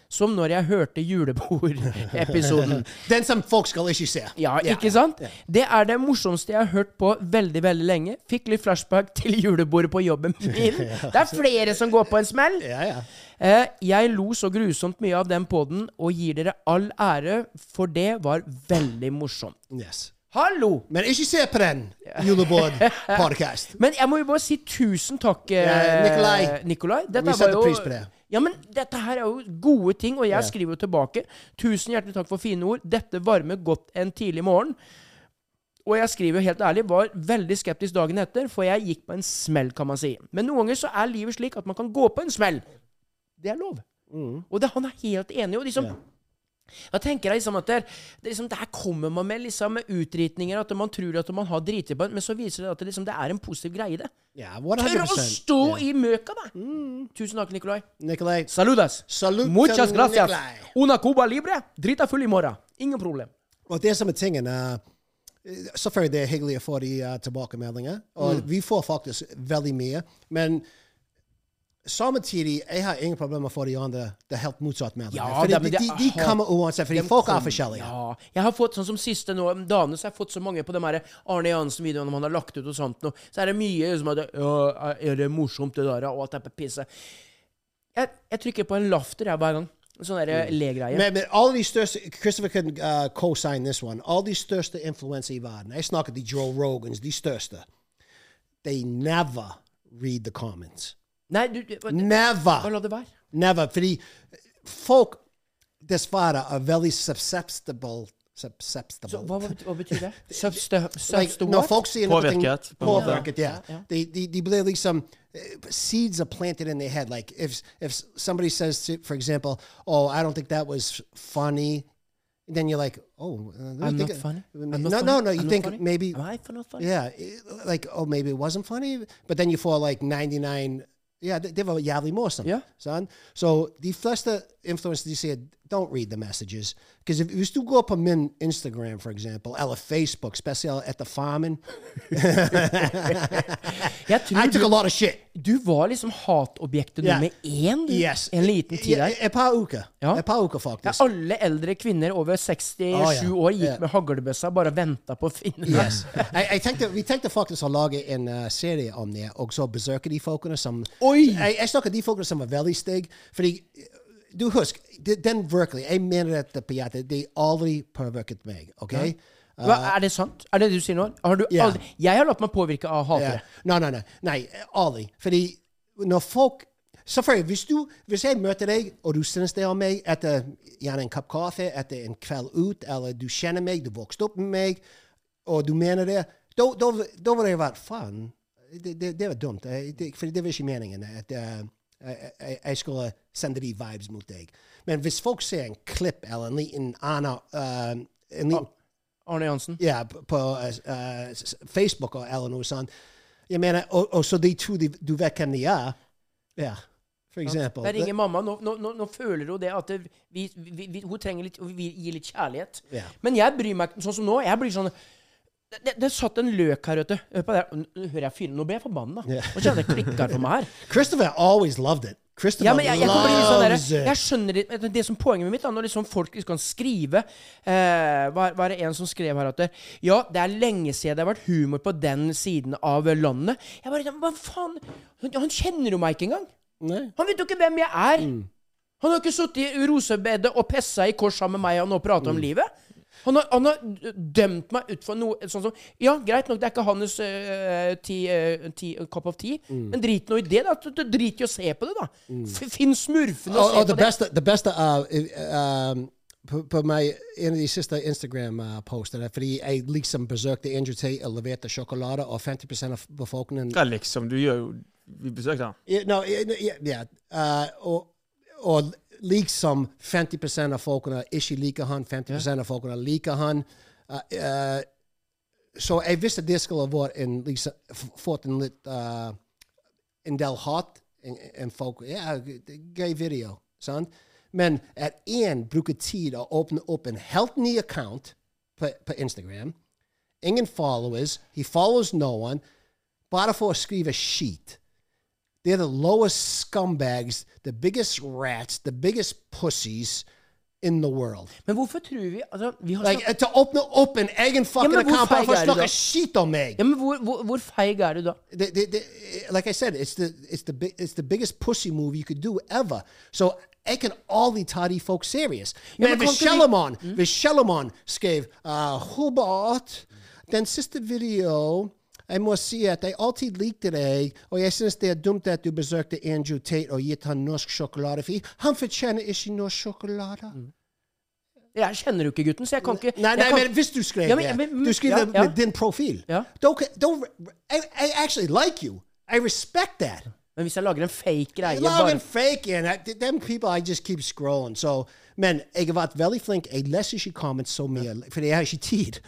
Speaker 6: som når jeg hørte julebordepisoden.
Speaker 5: Den som folk skal ikke se.
Speaker 6: Ja, ikke sant? Det er det morsomste jeg har hørt på veldig veldig lenge. Fikk litt flashback til julebordet på jobben min. Det er flere som går på en smell.
Speaker 5: Ja, ja.
Speaker 6: Eh, jeg lo så grusomt mye av den poden, og gir dere all ære, for det var veldig morsomt.
Speaker 5: Yes.
Speaker 6: Hallo!
Speaker 5: Men ikke se på den julebordpodkast.
Speaker 6: Men jeg må jo bare si tusen takk, eh,
Speaker 5: Ja, Nikolai.
Speaker 6: Nikolai. Dette
Speaker 5: Vi
Speaker 6: var
Speaker 5: setter
Speaker 6: jo-
Speaker 5: pris på det.
Speaker 6: Ja, men dette her er jo gode ting, og jeg skriver jo tilbake. Tusen hjertelig takk for fine ord. Dette varmer godt en tidlig morgen. Og jeg skriver jo helt ærlig, var veldig skeptisk dagen etter, for jeg gikk på en smell, kan man si. Men noen ganger så er livet slik at man kan gå på en smell. Det er lov.
Speaker 5: Mm.
Speaker 6: Og det, han er helt enig. Og liksom, Jeg tenker liksom at der, det liksom, der kommer man med liksom, med utritninger, at man tror at man har driti på en, men så viser det at det, liksom, det er en positiv greie, det.
Speaker 5: Ja,
Speaker 6: Tør å
Speaker 5: 100%.
Speaker 6: stå
Speaker 5: Ja.
Speaker 6: i møka, da! Tusen takk, Nikolai.
Speaker 5: Nikolai.
Speaker 6: Saludas.
Speaker 5: Salut til
Speaker 6: Muchas gracias.
Speaker 5: Nikolai.
Speaker 6: Una Cuba libre. Drita full i morgen. Ingen problem.
Speaker 5: Og det som er tingen eh, Selvfølgelig det er hyggelig å få de eh, tilbakemeldinger. Og vi får faktisk veldig mye. Men samtidig jeg har ingen problemer med å få de andre det er helt motsatt meldingene.
Speaker 6: Ja,
Speaker 5: Fordi
Speaker 6: da, men
Speaker 5: de,
Speaker 6: det-
Speaker 5: de, de
Speaker 6: aha.
Speaker 5: kommer uansett, fordi
Speaker 6: Dem
Speaker 5: folk
Speaker 6: kom-
Speaker 5: er forskjellige.
Speaker 6: Ja. Jeg har fått sånn som siste nå, om dagene så har jeg fått så mange på de her Arne Jansen-videoene om han har lagt ut og sånt nå. Så er det mye som at Ja, er det morsomt, det der, og alt det der pisset. Jeg, jeg trykker på en laughter, jeg, hver gang. En Sånn derre le-greie.
Speaker 5: Mm. Men, men alle de største Christopher can uh, co-sign this one. Alle de største influenser i verden. Jeg snakker de Joe Rogans, de største. They never read the comments.
Speaker 6: Nei, du, du bare- bare
Speaker 5: Never!
Speaker 6: la det være.
Speaker 5: Never. Fordi folk dessverre er veldig susceptible. susceptible.
Speaker 6: Så, hva, hva, hva betyr det? Subste,
Speaker 5: Like,
Speaker 6: subste
Speaker 5: når folk sier noe-
Speaker 7: Påvirket, på en måte.
Speaker 5: Påvirket, ja. De, de, de blir liksom eh, Seeds are planted in their head. Like if if somebody says, to, for example, "Oh, I don't think that was funny," then you're like, "Oh, uh, let me
Speaker 6: I'm
Speaker 5: think
Speaker 6: not
Speaker 5: of-
Speaker 6: funny. I'm
Speaker 5: no,
Speaker 6: not
Speaker 5: no,
Speaker 6: funny.
Speaker 5: no. You
Speaker 6: I'm not
Speaker 5: think
Speaker 6: funny.
Speaker 5: maybe,
Speaker 6: Am I fu- not funny?
Speaker 5: yeah, eh, like oh, maybe it wasn't funny, but then you fall like 99. Yeah, they, they were jolly more something.
Speaker 6: Yeah.
Speaker 5: son. So the flesta influencers you see, uh, don't read the messages because if you still go up on min Instagram, for example, or Facebook, especially at the farming,
Speaker 6: Jeg tror
Speaker 5: I took
Speaker 6: du-
Speaker 5: a lot of shit.
Speaker 6: Du var liksom hatobjektet
Speaker 5: Ja.
Speaker 6: nummer én du.
Speaker 5: Yes.
Speaker 6: en liten tid
Speaker 5: Ja,
Speaker 6: der.
Speaker 5: Et par uker.
Speaker 6: Ja.
Speaker 5: Et par uker,
Speaker 6: Ja,
Speaker 5: faktisk.
Speaker 6: alle eldre kvinner over 67
Speaker 5: Å, Ah, ja.
Speaker 6: år gikk
Speaker 5: Ja.
Speaker 6: med haglebøssa bare venta på å finne deg.
Speaker 5: Yes. jeg, jeg tenkte, vi tenkte faktisk å lage en eh, serie om det, og så besøke de folkene som
Speaker 6: Oi!
Speaker 5: Jeg, jeg snakker de folkene som var veldig stygge, fordi eh, du husk, de- den virkelig, jeg mener dette på hjertet, de aldri påvirket meg, OK?
Speaker 6: Hva, er det sant? Er det det du sier nå? Har du
Speaker 5: Ja.
Speaker 6: aldri, jeg har latt meg påvirke av
Speaker 5: Ja.
Speaker 6: hatere.
Speaker 5: Nei, nei, nei. nei aldri. Fordi når folk Selvfølgelig, hvis, du, hvis jeg møter deg, og du synes det om meg etter gjerne en kopp kaffe, etter en kveld ut, eller du kjenner meg, du vokste opp med meg, og du mener det, da da- da ville jeg vært Faen, det, det, det var dumt. Eh, Det, for det var ikke meningen at eh, jeg, jeg- jeg skulle sende de vibes mot deg. Men hvis folk ser en klipp eller en liten annen eh, en liten
Speaker 6: Arne Jansen.
Speaker 5: ja, p- på eh, eh, s- Facebook og eller noe sånt. Jeg mener, og, og så de to de, du vet hvem de er. Ja, for eksempel.
Speaker 6: Der ringer mamma. Nå, nå, nå, nå føler hun det at det, vi, vi, vi, hun trenger litt, vi gir litt kjærlighet.
Speaker 5: Ja.
Speaker 6: Men jeg bryr meg ikke sånn som nå. Jeg blir sånn det, det, det satt en løk her, vet du. Hør på det. Nå hører jeg fyren. Nå ble jeg forbanna.
Speaker 5: Ja.
Speaker 6: Nå kjenner jeg det klikker for meg her.
Speaker 5: Christopher always loved it. Christopher
Speaker 6: Ja, men jeg, jeg, kan bli litt sånn
Speaker 5: loves
Speaker 6: derre- jeg
Speaker 5: it.
Speaker 6: skjønner det, det- det som poenget mitt da, når liksom folk liksom kan skrive eh, var, var det en som skrev her at det, Ja, det er lenge siden det har vært humor på den siden av landet. Jeg bare, Hva faen? Han, han kjenner jo meg ikke engang.
Speaker 5: Nei. Mm.
Speaker 6: Han vet jo ikke hvem jeg er. Han har ikke sittet i rosebedet og pessa i kors sammen med meg og nå prata
Speaker 5: Mm.
Speaker 6: om livet. Han har, han har dømt meg ut for noe sånn som Ja, greit nok, det er ikke hans uh, ti, eh, ti, cup of tea,
Speaker 5: Mm.
Speaker 6: men drit nå i det, da. Du- du Drit i å se på det, da. F- Finn smurfene og,
Speaker 5: Og, og
Speaker 6: se
Speaker 5: Mm. det
Speaker 6: på det.
Speaker 5: beste, det beste er eh, um, på, på meg, en av de siste Instagram-postene, fordi jeg liksom besøkte Andrew Tate og leverte sjokolade, og 50 av befolkningen
Speaker 7: Hva liksom? Du gjør jo Vi besøkte han.
Speaker 5: Ja, no, ja, ja, ja. Eh, og, og liksom Uh, 50 av folkene ikke liker han, 50 av folkene liker han. Eh, eh, så jeg visste det skulle være en liksom, f- fått en litt eh, en del hat en, en folk Ja, gøy video. Sant? Men at én bruker tid å åpne opp en helt ny account på, på Instagram. Ingen followers. He follows no one. Bare for å skrive skit. They're the lowest scumbags, the biggest rats, the biggest pussies in the world.
Speaker 6: Men hvorfor tror vi altså, vi har
Speaker 5: Like,
Speaker 6: snakket-
Speaker 5: to åpne opp en egen fucking
Speaker 6: men hvor
Speaker 5: account bare for å
Speaker 6: feig er du da?
Speaker 5: snakke skit om meg!
Speaker 6: ja, men hvor, hvor, hvor feig er du da?
Speaker 5: they, they, they, eh, like I said, it's the it's the big it's the biggest pussy move you could do ever. So I can all the toddy folk serious.
Speaker 6: Ja,
Speaker 5: Man,
Speaker 6: men kan ikke vi-
Speaker 5: Vishellamon, Vishellamon skrev uh, Hobart, den siste video jeg må si at jeg alltid likte deg, og jeg synes det er dumt at du besøkte Andrew Tate og gitt han norsk sjokolade, for han fortjener ikke norsk sjokolade.
Speaker 6: Hmm. Jeg kjenner jo ikke gutten, så jeg kan ikke
Speaker 5: Nei,
Speaker 6: jeg
Speaker 5: nei,
Speaker 6: kan,
Speaker 5: men hvis du skrev
Speaker 6: Ja, men-
Speaker 5: det,
Speaker 6: men-
Speaker 5: du skrev
Speaker 6: ja,
Speaker 5: det
Speaker 6: ja.
Speaker 5: med din profil.
Speaker 6: Ja.
Speaker 5: Don't, don't, I, I actually like you. I respect that.
Speaker 6: men hvis jeg lager en fake greie
Speaker 5: Log
Speaker 6: bare,
Speaker 5: and fake and I, them people I just keep scrolling. So men jeg har vært veldig flink. Jeg leser ikke comments så mye, for jeg har ikke tid.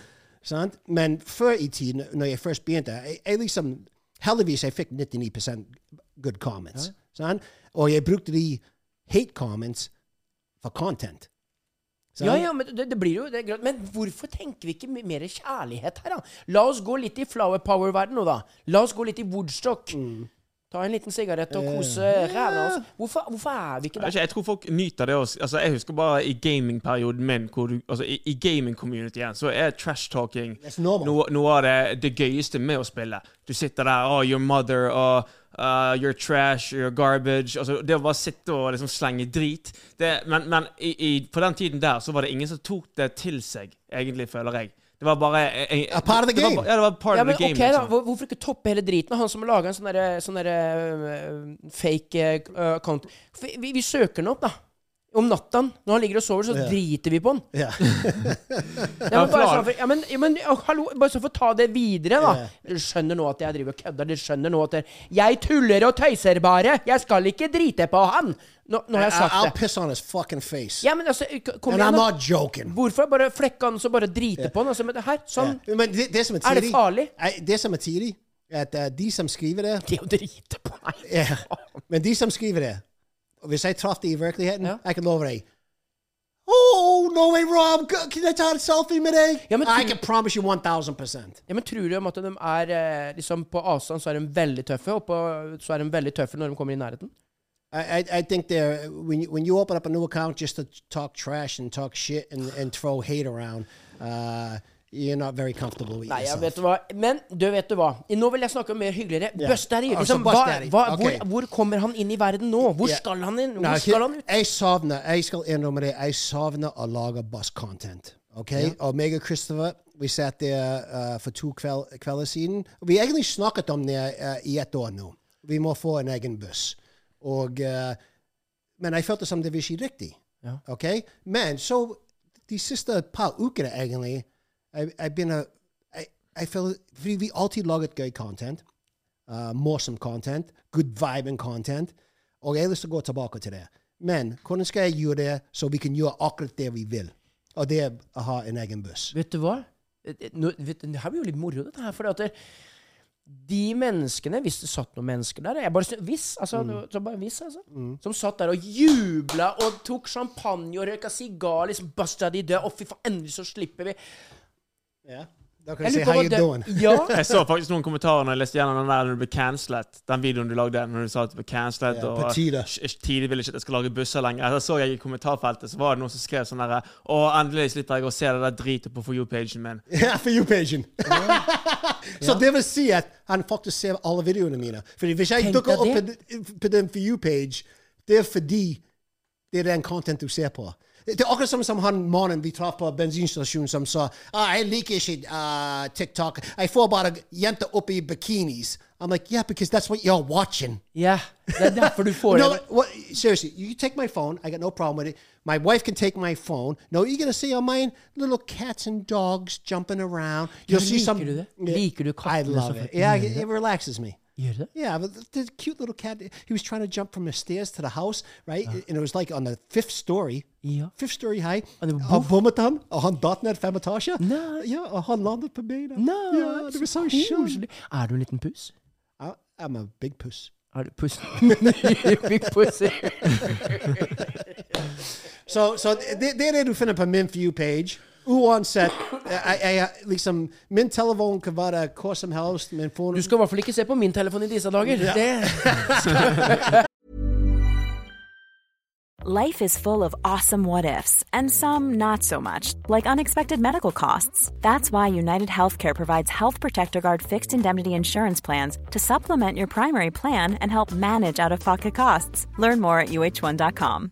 Speaker 5: Sant? Men før i tiden, når jeg først begynte, jeg, jeg liksom Heldigvis jeg fikk 99 good comments. Sant? Og jeg brukte de hate comments for content. Sant?
Speaker 6: Ja, ja, men det, det blir jo det er greit. Men hvorfor tenker vi ikke m- mer kjærlighet her, da? La oss gå litt i flower power-verden nå, da. La oss gå litt i Woodstock.
Speaker 5: Mm.
Speaker 6: Ta en liten sigarett
Speaker 5: Eh,
Speaker 6: og kose ræva oss. Hvorfor, hvorfor er vi ikke
Speaker 7: Jeg, vet
Speaker 6: der?
Speaker 7: ikke, jeg tror folk nyter det også. Altså, jeg husker bare i gamingperioden min, hvor du, altså, i, i gaming-communityen, så er trash-talking
Speaker 5: That's normal.
Speaker 7: noe, noe av det, det gøyeste med å spille. Du sitter der, oh, your mother, og uh, you're trash, you're garbage. Altså, det å bare sitte og liksom slenge drit. Det, men men i, i, på den tiden der så var det ingen som tok det til seg, egentlig, føler jeg. Det var bare eh, eh,
Speaker 5: A part of the
Speaker 7: det var
Speaker 5: game.
Speaker 7: ba- ja, det var part
Speaker 6: Ja,
Speaker 7: of
Speaker 6: men
Speaker 7: the game.
Speaker 6: ok da,
Speaker 7: liksom.
Speaker 6: hvor- Hvorfor ikke toppe hele driten? Han som laga en sånn derre sånn derre, øh, fake øh, account For vi, vi søker den opp, da. Om natta, når han ligger og sover, så
Speaker 5: Ja.
Speaker 6: driter vi på han.
Speaker 5: Ja.
Speaker 6: Ja, men, bare
Speaker 7: klar.
Speaker 6: sånn for, ja, men, ja, men ja, hallo, bare sånn for å ta det videre, da.
Speaker 5: Ja.
Speaker 6: Dere skjønner nå at jeg driver og kødder. Dere skjønner nå at jeg, jeg tuller og tøyser bare. Jeg skal ikke drite på han. Nå, nå har jeg
Speaker 5: I,
Speaker 6: sagt
Speaker 5: I'll
Speaker 6: det.
Speaker 5: piss on his fucking face.
Speaker 6: Ja, men altså, k- kom
Speaker 5: And I'm
Speaker 6: igjen, da.
Speaker 5: not joking.
Speaker 6: Hvorfor bare flekke han og så bare drite på han? Altså, men det her, sånn.
Speaker 5: Ja. Men det, det som er
Speaker 6: Er det
Speaker 5: tidlig
Speaker 6: farlig?
Speaker 5: Nei, Det som er tidlig, at eh, de som skriver det
Speaker 6: Det å drite på meg.
Speaker 5: Ja. Men de som skriver det, og hvis jeg traff dem i virkeligheten,
Speaker 6: Ja.
Speaker 5: jeg kan love deg Oh, no way, Rob! g- Can I ta en selfie med deg?
Speaker 6: Ja, men
Speaker 5: I
Speaker 6: tror-
Speaker 5: can promise you 1000
Speaker 6: Ja, men tror du om at de er eh, liksom På avstand så er de veldig tøffe, og på, så er de veldig tøffe når de kommer i nærheten?
Speaker 5: I, I, I think they're, when, you, when you open up a new account just to talk trash and talk shit and, and throw hate around, uh, you're not very comfortable with
Speaker 6: Nei, jeg
Speaker 5: yourself.
Speaker 6: vet du hva. Men du vet du hva. Nå vil jeg snakke om mer hyggeligere.
Speaker 5: Ja.
Speaker 6: Buzz Daddy.
Speaker 5: Altså,
Speaker 6: Liksom,
Speaker 5: Buzz
Speaker 6: hva,
Speaker 5: Daddy.
Speaker 6: hva,
Speaker 5: Ok.
Speaker 6: hvor, hvor kommer han inn i verden nå? Hvor
Speaker 5: Ja.
Speaker 6: skal han inn? Hvor
Speaker 5: Nei,
Speaker 6: skal han ut?
Speaker 5: Jeg savner Jeg skal innrømme det. Jeg savner å lage buss-content. ok? Og meg og Christopher vi satt der eh, for to kveld, kvelder siden. Og Vi har egentlig snakket om det eh, i et år nå. Vi må få en egen buss. Og, eh, men jeg følte som det var ikke riktig.
Speaker 6: Ja.
Speaker 5: ok? Men så de siste par ukene, egentlig, jeg, jeg begynner jeg, jeg føler, Fordi vi alltid laget gøy content uh, morsom content, good vibing content. Og jeg har lyst til å gå tilbake til det. Men hvordan skal jeg gjøre det, så vi kan gjøre akkurat det vi vil? Og det er å ha en egen buss.
Speaker 6: Vet du hva? Eh, Nå, vet, du, det her blir jo litt moro, dette her. For at det- de menneskene, hvis det satt noen mennesker der jeg bare, sy- Hvis, altså.
Speaker 5: Mm.
Speaker 6: det var Bare hvis, altså Som satt der og jubla og tok champagne og røyka sigar. Liksom busta de død. Å, fy faen, endelig så slipper vi.
Speaker 5: Ja. Da kan
Speaker 6: Jeg
Speaker 5: du si
Speaker 6: lurer på
Speaker 5: how
Speaker 6: hva
Speaker 5: you
Speaker 6: det-
Speaker 5: doing.
Speaker 6: Ja.
Speaker 7: Jeg så faktisk noen kommentarer når jeg leste gjennom den der når du ble cancelled. Den videoen du lagde når du sa at du ble cancelled.
Speaker 5: Ja,
Speaker 7: og
Speaker 5: på tide.
Speaker 7: sh- sh- Tide ville ikke at jeg skal lage busser lenger. Da så jeg i kommentarfeltet, så var det noen som skrev sånn derre Å, endelig slipper jeg å se det der dritet på For you-pagen min.
Speaker 5: Ja, for you, Pagen. Så det vil si at han faktisk ser alle videoene mine. Fordi hvis jeg
Speaker 6: Tenk
Speaker 5: dukker
Speaker 6: deg
Speaker 5: opp på, den- på den for you-page, det er fordi det er den content du ser på. Det er akkurat som, som han mannen vi traff på bensinstasjonen som sa ah, 'Jeg liker ikke ah, TikTok. Jeg får bare jenter opp i bikinis.' I'm like, yeah, because that's what you're watching.
Speaker 6: ja. Det er derfor du får
Speaker 5: No,
Speaker 6: det.
Speaker 5: what, seriously, you take my phone. I got no problem with it. My wife can take my phone. No, you're gonna see on mine little cats and dogs jumping around. You'll
Speaker 6: Yeah,
Speaker 5: see
Speaker 6: liker
Speaker 5: some.
Speaker 6: du det? Liker du
Speaker 5: I
Speaker 6: kattene
Speaker 5: love
Speaker 6: som-
Speaker 5: it. Yeah, it, it relaxes me.
Speaker 6: Gjør det?
Speaker 5: Yeah, but the, the cute little cat. He was trying to jump from the stairs to the house, right? And it was like on the fifth story,
Speaker 6: Ja.
Speaker 5: fifth story high.
Speaker 6: And the
Speaker 5: han
Speaker 6: boof.
Speaker 5: bommet ham, og han datt ned fem etasjer.
Speaker 6: Nei.
Speaker 5: Ja, og han landet på beina.
Speaker 6: Nei,
Speaker 5: ja, det var så
Speaker 6: koselig.
Speaker 5: kjent.
Speaker 6: Er du en liten pus?
Speaker 5: I- I'm a big puss.
Speaker 6: Er du pus? Big pussy.
Speaker 5: Så, så det, det er det du finner på min For you-page. Uansett, jeg, jeg, liksom, min telefon kan være hva som helst. Min phone,
Speaker 6: Du skal i hvert fall ikke se på min telefon i disse dager.
Speaker 5: Ja.
Speaker 6: Det.
Speaker 11: Life is full of awesome what ifs, and some not so much, like unexpected medical costs. That's why United Healthcare provides Health Protector Guard fixed indemnity insurance plans to supplement your primary plan and help manage out of pocket costs. Learn more at uh1.com.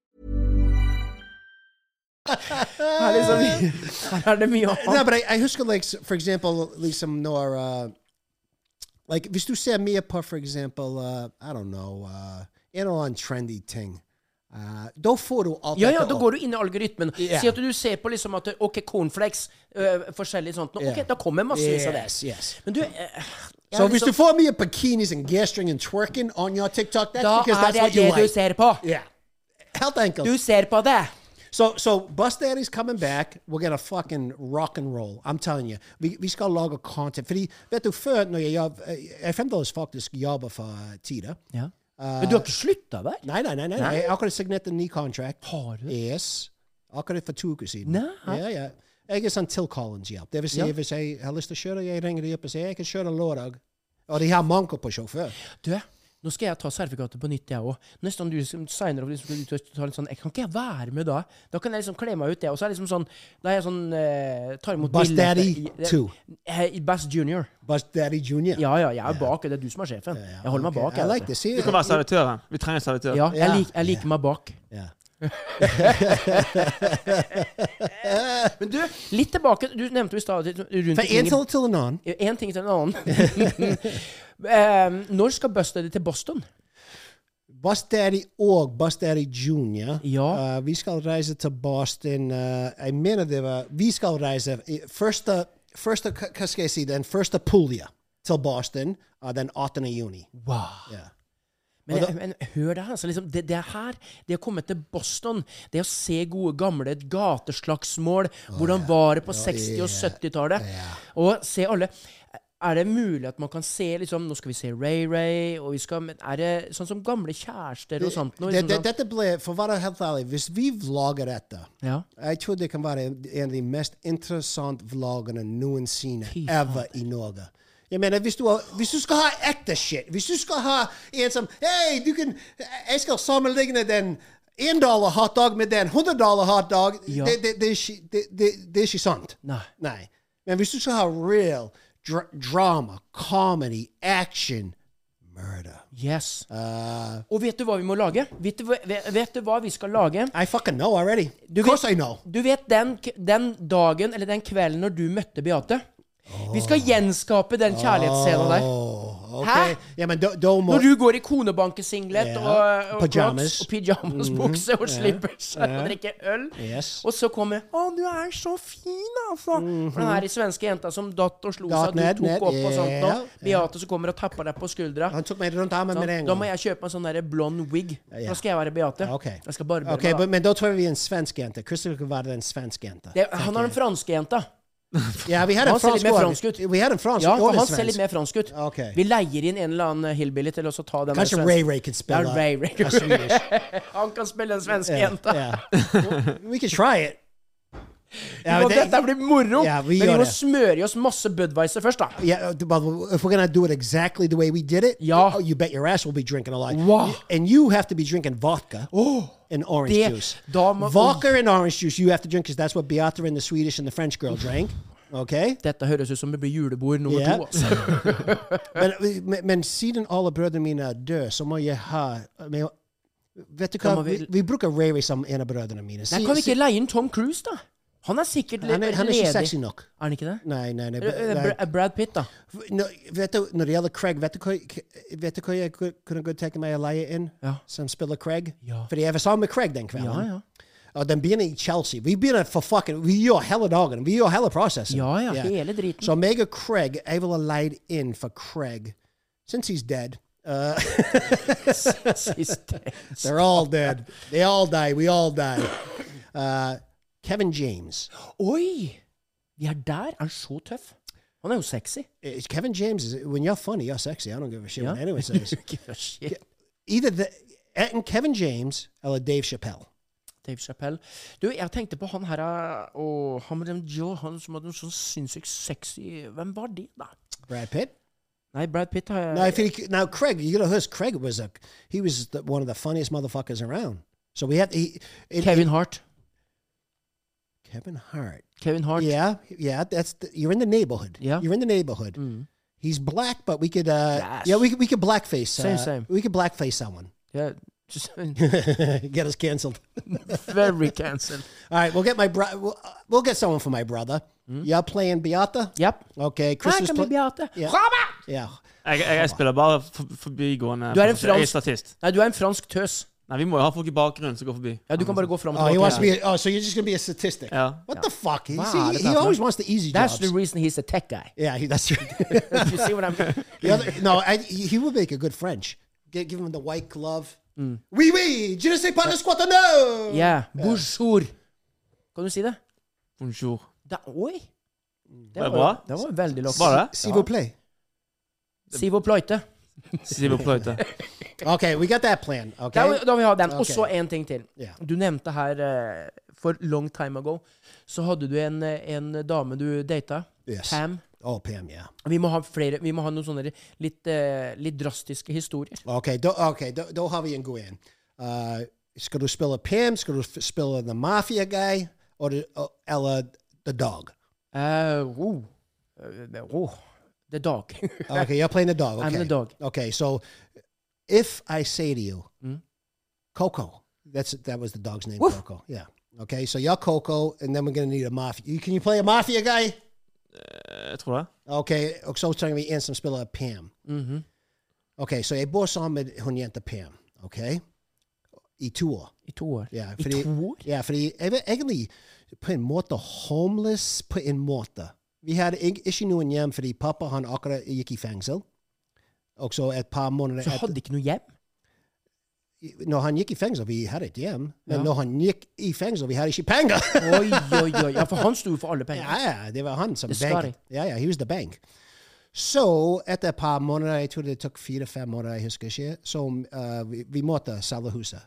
Speaker 6: Her, er liksom, her er det mye annet.
Speaker 5: Nei, men jeg, jeg husker like, s- for eksempel liksom når uh, like, Hvis du ser mer på for eksempel uh, I don't know uh, en eller annen trendy ting, uh, da får du alt
Speaker 6: Ja, ja,
Speaker 5: dette
Speaker 6: da
Speaker 5: opp.
Speaker 6: går du inn i algoritmen.
Speaker 5: Ja.
Speaker 6: Si at du ser på liksom at OK, cornflakes, øh, forskjellig sånt. Nå, Ok,
Speaker 5: Ja.
Speaker 6: da kommer massevis av det.
Speaker 5: Yes, yes.
Speaker 6: Men du eh, jeg
Speaker 5: Så
Speaker 6: har
Speaker 5: hvis
Speaker 6: liksom-
Speaker 5: du får mye bikinis and gastring and twerking on your TikTok, that's
Speaker 6: Da
Speaker 5: because
Speaker 6: er
Speaker 5: that's
Speaker 6: det
Speaker 5: what you
Speaker 6: det du
Speaker 5: like.
Speaker 6: ser på.
Speaker 5: Yeah. Helt enkelt.
Speaker 6: Du ser på det.
Speaker 5: So, so Bus Daddy's coming back. We're gonna fucking rock and roll. I'm telling you, vi, vi skal lage content. Fordi, vet du, før når jeg jobb, eh, jeg fremdeles faktisk jobber for eh, Tida.
Speaker 6: Men du har ikke slutta, vel?
Speaker 5: Nei, nei, nei, nei. nei. Jeg har akkurat signert en ny contract.
Speaker 6: Har du?
Speaker 5: Yes. Akkurat for to uker siden.
Speaker 6: Nei.
Speaker 5: Ja, ja. Jeg er sånn Till Collins-hjelp. Det vil si,
Speaker 6: Ja.
Speaker 5: hvis jeg har lyst til å kjøre, jeg ringer de opp og sier jeg kan kjøre lørdag. Og de har manko på sjåfør.
Speaker 6: Du, nå skal jeg ta sertifikatet på nytt, jeg òg. Neste gang du som signer opp, liksom, skal ut og ta litt sånn Jeg kan ikke jeg være med da. Da kan jeg liksom kle meg ut, jeg. Og så er det liksom sånn Da er jeg sånn eh, Tar imot
Speaker 5: Bus
Speaker 6: bilder-
Speaker 5: Daddy
Speaker 6: i-
Speaker 5: 2.
Speaker 6: Eh, Bass Junior.
Speaker 5: Bus Daddy Jr.
Speaker 6: Ja, ja, jeg er bak. Det er du som er sjefen. Jeg holder meg
Speaker 5: Okay,
Speaker 6: bak.
Speaker 5: I
Speaker 6: jeg,
Speaker 5: like
Speaker 6: vet
Speaker 5: this. See,
Speaker 7: Du kan være servitøren. Vi trenger en servitør.
Speaker 6: du. Ja, jeg,
Speaker 5: Ja.
Speaker 6: lik, jeg liker meg bak.
Speaker 5: Ja.
Speaker 6: Men du, litt tilbake. Du nevnte jo i stad rundt
Speaker 5: Fra en sånn- til, til en annen.
Speaker 6: Én ting til en annen. Eh, når skal Bust Daddy til Boston?
Speaker 5: Bus Daddy og Bus Daddy Junior. Eh,
Speaker 6: Ja.
Speaker 5: vi skal reise til Boston. eh, jeg mener det var Vi skal reise i- første, første hva- Hva skal jeg si? Den første pulja til Boston eh, den 18. juni.
Speaker 6: Wow.
Speaker 5: Ja.
Speaker 6: Men,
Speaker 5: Og da-
Speaker 6: jeg- men hør det her. Altså, liksom, det, det er her, det å komme til Boston, det å se gode gamle gateslagsmål Hvordan var det på 60- og 70-tallet? Og se alle Er det mulig at man kan se liksom, Nå skal vi se Ray Ray, og vi skal men Er det sånn som gamle kjærester og sånt? er Noe,
Speaker 5: Det-
Speaker 6: liksom,
Speaker 5: det-
Speaker 6: sånn,
Speaker 5: Dette ble, for å være helt ærlig, hvis vi vlogger dette
Speaker 6: ja.
Speaker 5: Jeg tror det kan være en av de mest interessante vloggene noensinne
Speaker 6: Fy
Speaker 5: ever i Norge. Jeg mener, hvis du, har, hvis du skal ha ekte shit, hvis du skal ha en som Hei, du kan Jeg skal sammenligne den én dollar hotdog med den 100 dollar hotdog.
Speaker 6: Ja.
Speaker 5: Det, det, det, er ikke- det, det, det er ikke sant.
Speaker 6: Nei.
Speaker 5: Nei. Men hvis du skal ha real dra drama, comedy, action, murder
Speaker 6: Yes.
Speaker 5: uh,
Speaker 6: Og vet du hva vi må lage? Vet du, hva- vet, vet du hva vi skal lage?
Speaker 5: I fucking know already. Of course I know.
Speaker 6: Du vet den, k- den dagen, eller den kvelden, når du møtte Beate? Vi skal gjenskape den kjærlighetsscenen der.
Speaker 5: Oh,
Speaker 6: Hæ?
Speaker 5: okay. Ja, men da, da må
Speaker 6: Når du går i konebankesinglet
Speaker 5: Ja.
Speaker 6: og, og
Speaker 5: Pyjamas.
Speaker 6: Crocs og pyjamasbukse og slippers og drikker øl,
Speaker 5: Yes.
Speaker 6: og så kommer 'Å, du er så fin, altså'. For Den her svenske jenta som datt og slo
Speaker 5: Mhm. Datt
Speaker 6: seg, du
Speaker 5: ned,
Speaker 6: tok
Speaker 5: ned,
Speaker 6: opp og sånt.
Speaker 5: ja,
Speaker 6: nå. Beate som kommer og tapper deg på skuldra.
Speaker 5: Han tok meg rundt armen
Speaker 6: Da,
Speaker 5: med en
Speaker 6: da må
Speaker 5: gang.
Speaker 6: jeg kjøpe meg en sånn der blond wig.
Speaker 5: Ja.
Speaker 6: Da skal jeg være Beate.
Speaker 5: Ok.
Speaker 6: Jeg skal barbere
Speaker 5: Ok,
Speaker 6: meg. da.
Speaker 5: men- Men da tror jeg vi er en svensk jente. Christopher kan være den svenske jente.
Speaker 6: Det, han har den franske jenta.
Speaker 5: Ja, vi har en
Speaker 6: Han ser litt
Speaker 5: fransk
Speaker 6: mer
Speaker 5: også.
Speaker 6: fransk ut.
Speaker 5: Vi har en fransk
Speaker 6: Ja,
Speaker 5: og
Speaker 6: for
Speaker 5: en
Speaker 6: han ser litt
Speaker 5: svensk.
Speaker 6: mer fransk ut.
Speaker 5: Ok.
Speaker 6: Vi leier inn en eller annen hillbilly til å så ta den der
Speaker 5: Kanskje
Speaker 6: svenske-
Speaker 5: Ray Ray kan spille
Speaker 6: Ja, Ray Ray.
Speaker 5: a Swedish.
Speaker 6: Han kan spille den svenske
Speaker 5: Yeah,
Speaker 6: jenta.
Speaker 5: yeah. We can try it. Ja,
Speaker 6: Nå,
Speaker 5: men det-
Speaker 6: dette blir moro!
Speaker 5: Ja, vi
Speaker 6: men vi
Speaker 5: gjør
Speaker 6: må
Speaker 5: det.
Speaker 6: smøre i oss masse Budwiser først, da.
Speaker 5: Yeah, but if we're gonna do it exactly the way we did it,
Speaker 6: Ja.
Speaker 5: oh, you bet your ass we'll be drinking a lot.
Speaker 6: Wow.
Speaker 5: And you have to be drinking vodka
Speaker 6: Oh,
Speaker 5: and orange
Speaker 6: Det-
Speaker 5: juice.
Speaker 6: da må-
Speaker 5: vodka and orange juice you have to drink because that's what Beata and the Swedish and the French girl drank.
Speaker 6: Dette høres ut som det blir julebord nummer
Speaker 5: Ja.
Speaker 6: to. Altså.
Speaker 5: men, men, men siden alle brødrene mine er døde, så må jeg ha men, Vet du
Speaker 6: Da
Speaker 5: hva,
Speaker 6: må
Speaker 5: vi,
Speaker 6: vi-
Speaker 5: vi bruker Ray-Ray som en av brødrene mine.
Speaker 6: Nei,
Speaker 5: Si-
Speaker 6: kan vi
Speaker 5: si-
Speaker 6: ikke leie inn Tom Cruise, da? Han er sikkert litt
Speaker 5: han, er, han er ikke sexy nok.
Speaker 6: Er han ikke det?
Speaker 5: Nei, nei, nei.
Speaker 6: Eh, eh,
Speaker 5: nei.
Speaker 6: Bra- Brad Pitt, da.
Speaker 5: Nå, vet du, når det gjelder Craig, vet du hva, vet du hva jeg ku- kunne godt tenke meg å leie inn?
Speaker 6: Ja.
Speaker 5: Som spiller Craig?
Speaker 6: Ja.
Speaker 5: Fordi jeg var sammen med Craig Oh, den kvelden.
Speaker 6: Ja, ja.
Speaker 5: Og den begynner i Chelsea. Vi begynner for fucking, vi gjør hele dagen. Vi gjør hele prosessen.
Speaker 6: Ja, ja, hele driten.
Speaker 5: Så meg og Craig, jeg ville leid inn for Craig, since he's dead. Uh,
Speaker 6: Siste.
Speaker 5: they're all dead. They all die. We all die. Uh, Kevin James.
Speaker 6: Oi! Vi er der. Er han så tøff? Han er jo sexy.
Speaker 5: It's Kevin James, is, when you're funny, you're sexy. I don't give a shit
Speaker 6: Ja.
Speaker 5: what anyone says.
Speaker 6: Give a shit.
Speaker 5: either the and Kevin James eller Dave Chappelle.
Speaker 6: Dave Chappelle. Du, jeg tenkte på han her eh, og han med den Jill, han som hadde en sånn sinnssykt sexy Hvem var det, da?
Speaker 5: Brad Pitt.
Speaker 6: Nei, Brad Pitt har jeg
Speaker 5: Now, if he, now Craig, you know his Craig was a he was the, one of the funniest motherfuckers around. So we had he, it-
Speaker 6: Kevin Hart.
Speaker 5: Kevin Hart.
Speaker 6: Kevin Hart.
Speaker 5: Yeah, yeah. That's the, you're in the neighborhood.
Speaker 6: Yeah.
Speaker 5: you're in the neighborhood.
Speaker 6: Mm.
Speaker 5: He's black, but we could uh,
Speaker 6: Yes.
Speaker 5: yeah we could- we could blackface
Speaker 6: Same,
Speaker 5: uh,
Speaker 6: same.
Speaker 5: we could blackface someone.
Speaker 6: Yeah, just-
Speaker 5: get us canceled.
Speaker 6: Very cancelled.
Speaker 5: All right, we'll get my bro. We'll, uh, we'll get someone for my brother.
Speaker 6: Mm.
Speaker 5: Y'all playing Beata?
Speaker 6: Yep.
Speaker 5: Okay, Chris
Speaker 6: Her
Speaker 5: is
Speaker 6: kommer
Speaker 5: pla-
Speaker 6: Beate.
Speaker 5: Ja.
Speaker 6: Robert!
Speaker 5: yeah.
Speaker 7: Jeg, jeg, jeg spiller bare for, forbigående.
Speaker 6: Du er en
Speaker 7: Jeg
Speaker 6: fransk-
Speaker 7: statist.
Speaker 6: Nei, du er en fransk tøs.
Speaker 7: Nei, vi må jo ha folk i bakgrunnen som går forbi.
Speaker 6: Ja, du kan bare gå fram
Speaker 5: Oh, he
Speaker 6: og
Speaker 5: wants to be.
Speaker 6: tilbake.
Speaker 5: A, oh, so you're just gonna be a statistic?
Speaker 7: Ja.
Speaker 5: What the fuck? He,
Speaker 6: Wow,
Speaker 5: see,
Speaker 6: that's
Speaker 5: he
Speaker 6: not
Speaker 5: always
Speaker 6: fun.
Speaker 5: wants the easy
Speaker 6: That's
Speaker 5: jobs.
Speaker 6: the reason he's a tech guy.
Speaker 5: yeah, he, that's
Speaker 6: You see what I'm
Speaker 5: the other, no. I, he would make a good French. Gi- give him the white glove. Oui, oui. Je ne sais pas de ce qu'on no.
Speaker 6: Mm. Yeah. Bonjour. Kan du si det?
Speaker 7: Bonjour.
Speaker 6: Da, oi! Det
Speaker 7: Var det bra?
Speaker 6: Det var veldig lavt.
Speaker 7: Var det?
Speaker 5: S'il vous plaît.
Speaker 6: Siv og Pløyte.
Speaker 7: Siv og Pløyte.
Speaker 5: Okay, we got that plan.
Speaker 6: Da,
Speaker 5: Okay.
Speaker 6: da vil vi ha den. Og
Speaker 5: Ok.
Speaker 6: så en ting til.
Speaker 5: Ja.
Speaker 6: Du nevnte her eh, for long time ago, så hadde du en, eh, en dame du data.
Speaker 5: Yes.
Speaker 6: Pam.
Speaker 5: Oh, Pam. Yeah.
Speaker 6: Vi må ha flere, vi må ha noen sånne litt, eh, litt drastiske historier.
Speaker 5: Okay. Do, okay. Do, do Javi and Gwen. Uh, skal du spille Pam? Skal du f- spille the mafia guy? Or the, uh, eller the dog?
Speaker 6: Uh, oh. Uh, oh. The dog.
Speaker 5: Okay, you're playing the dog. Okay.
Speaker 6: I'm the dog.
Speaker 5: Okay, so if I say to you,
Speaker 6: Hmm?
Speaker 5: Coco, that's that was the dog's name, Coco. Yeah. Okay, so you're Coco, and then we're gonna need a mafia. You, can you play a mafia guy?
Speaker 7: Jeg tror det.
Speaker 5: Okay, och så tar vi en som spelar Pam.
Speaker 6: Mhm.
Speaker 5: Okay, så jag bor sammen med hon heter Pam. Okay, i två år.
Speaker 6: I to år.
Speaker 5: Ja,
Speaker 6: I
Speaker 5: fordi-
Speaker 6: to år?
Speaker 5: Ja, fordi jeg var egentlig på en måte homeless på en måte. Vi hadde ing- ikke noen hjem fordi pappa han akkurat gikk i fengsel. Og så et par måneder
Speaker 6: Så hadde ikke noe hjem?
Speaker 5: etter, Når han gikk i fengsel, vi hadde et hjem. Men
Speaker 6: Ja.
Speaker 5: når han gikk i fengsel, vi hadde ikke penger!
Speaker 6: Oi, oi, oi. Ja, for han sto jo for alle
Speaker 5: ja,
Speaker 6: pengene.
Speaker 5: ja, det var han som
Speaker 6: Det skal
Speaker 5: banket. Ja, ja, he was the bank. Så etter et par måneder, jeg tror det tok fire-fem måneder, jeg husker ikke, så eh, vi, vi måtte selge huset.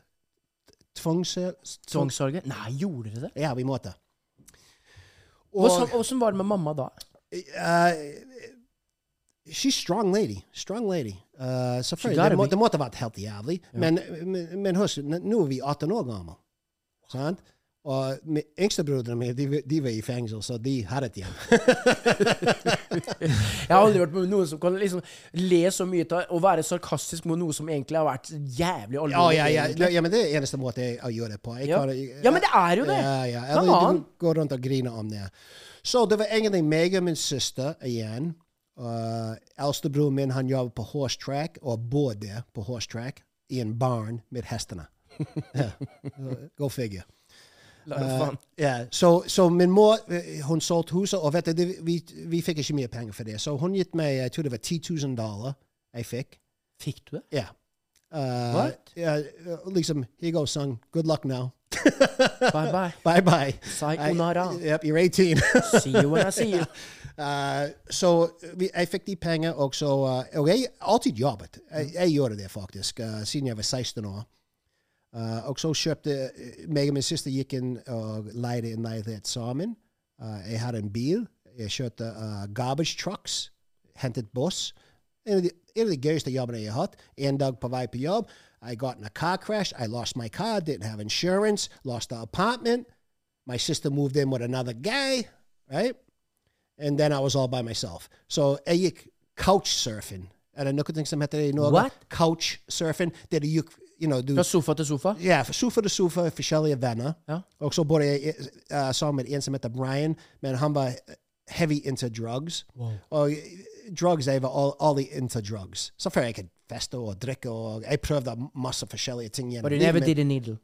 Speaker 5: Tvangssal...
Speaker 6: Tvangssalget? Nei, gjorde dere det?
Speaker 5: Ja, vi måtte.
Speaker 6: Og så- Åssen var det med mamma da?
Speaker 5: uh, she's strong lady, strong lady. Uh, så
Speaker 6: She
Speaker 5: for,
Speaker 6: gotta
Speaker 5: det, må,
Speaker 6: be.
Speaker 5: det måtte vært helt jævlig. Men, men, men husk, n- nå er vi 18 år gamle. Sant? Og mi- yngstebroderene mine, de, de var i fengsel, så de hadde et hjem.
Speaker 6: Jeg har aldri vært med noen som kan liksom le så mye av og være sarkastisk mot noe som egentlig har vært jævlig alvorlig.
Speaker 5: Ja, ja, ja.
Speaker 6: egentlig.
Speaker 5: ja, men det er eneste måte jeg å gjøre det på. Jeg
Speaker 6: Ja.
Speaker 5: kan- jeg-
Speaker 6: Ja, men det er jo det.
Speaker 5: Ja, ja.
Speaker 6: Come
Speaker 5: Eller du
Speaker 6: on.
Speaker 5: går rundt og griner om det. Så det var egentlig meg og min søster igjen. Uh, Eldstebroren min han jobber på horse track, og bor der på horse track, i en barn med hestene. ja. Go figure. Eh,
Speaker 6: La det faen.
Speaker 5: Ja, så, så min mor eh, hun solgte huset, og vet du, det- vi, vi fikk ikke mye penger for det. Så hun gitt meg jeg tror det var 10 000 dollar jeg fikk.
Speaker 6: Fikk du det?
Speaker 5: Yeah. Uh,
Speaker 6: What?
Speaker 5: Yeah, uh, Liksom, here you go, son. Good luck now.
Speaker 6: Bye bye.
Speaker 5: Bye bye.
Speaker 6: Sayonara.
Speaker 5: Yep, you're 18.
Speaker 6: See you when I see you.
Speaker 5: uh, så vi, jeg fikk de penger, og så uh, Og jeg har alltid jobbet. Jeg, jeg gjorde det faktisk uh, siden jeg var 16 år. Uh, og så kjøpte uh, meg og min søster gikk inn og leide eh, en leilighet sammen. Uh, jeg hadde en bil. Jeg kjørte uh, garbage trucks. Hentet boss. En av de, en av de gøyeste jobbene jeg har hatt. En dag på vei på jobb, I got in a car crash. I lost my car, didn't have insurance, lost the apartment. My sister moved in with another guy, right? and then I was all by myself. Så jeg gikk couch surfing. Er det noe som heter det i Norge?
Speaker 6: What?
Speaker 5: Couch surfing. Det du gikk you know, du,
Speaker 6: Fra sofa til sofa?
Speaker 5: Ja, fra sofa til sofa, forskjellige venner.
Speaker 6: Ja.
Speaker 5: Og så bodde jeg eh, sammen med en som heter Brian, men han var heavy into drugs. Og drugs, jeg var all, all into drugs. Så før jeg kunne feste og drikke, og jeg prøvde masse forskjellige ting. gjennom
Speaker 6: But you
Speaker 5: livet
Speaker 6: never
Speaker 5: mitt.
Speaker 6: did a needle.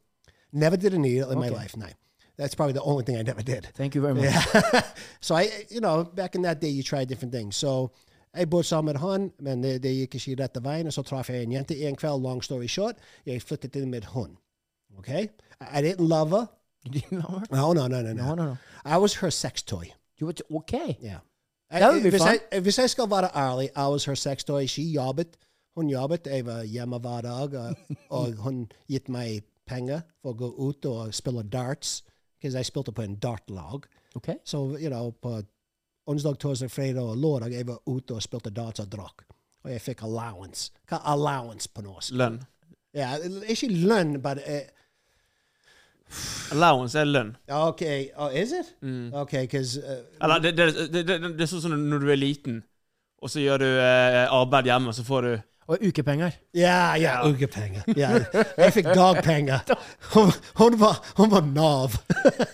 Speaker 5: Never did a needle in my
Speaker 6: Okay.
Speaker 5: life. No, that's probably the only thing I never did.
Speaker 6: Thank you very much.
Speaker 5: Yeah. so I, you know, back in that day, you tried different things. So jeg bodde sammen med han, men det, det gikk ikke rett veien. Og så traff jeg en jente en kveld. Long story short, jeg flyttet inn med hun. Okay, I, I didn't love her.
Speaker 6: You didn't know her?
Speaker 5: No, no, no, no, no,
Speaker 6: No, no, no.
Speaker 5: I was her sex toy.
Speaker 6: You were t- okay.
Speaker 5: Yeah.
Speaker 6: That would be
Speaker 5: hvis,
Speaker 6: fun.
Speaker 5: jeg, hvis jeg skal være ærlig, I was her sex toy. She jobbet. Hun jobbet. Jeg var hjemme hver dag. Og, og uh, hun gitt meg penger for å gå ut og spille darts. Because jeg spilte på en dartlag.
Speaker 6: Okay.
Speaker 5: Så you know, på onsdag, torsdag, fredag og lørdag jeg var ute og spilte darts og drakk. Og jeg fikk e allowance. Hva er allowance på norsk?
Speaker 7: Lønn.
Speaker 5: Ja, ikke lønn, men eh,
Speaker 7: Allowance er lønn.
Speaker 5: OK, oh, is it? uh, OK, because
Speaker 7: Eller det, det, det, det, det er sånn som når du er liten, og så gjør du eh, arbeid hjemme, så får du
Speaker 6: Og ukepenger.
Speaker 5: Ja, ja, ukepenger. Ja. Jeg fikk dagpenger. Hun, hun, var, hun var Nav.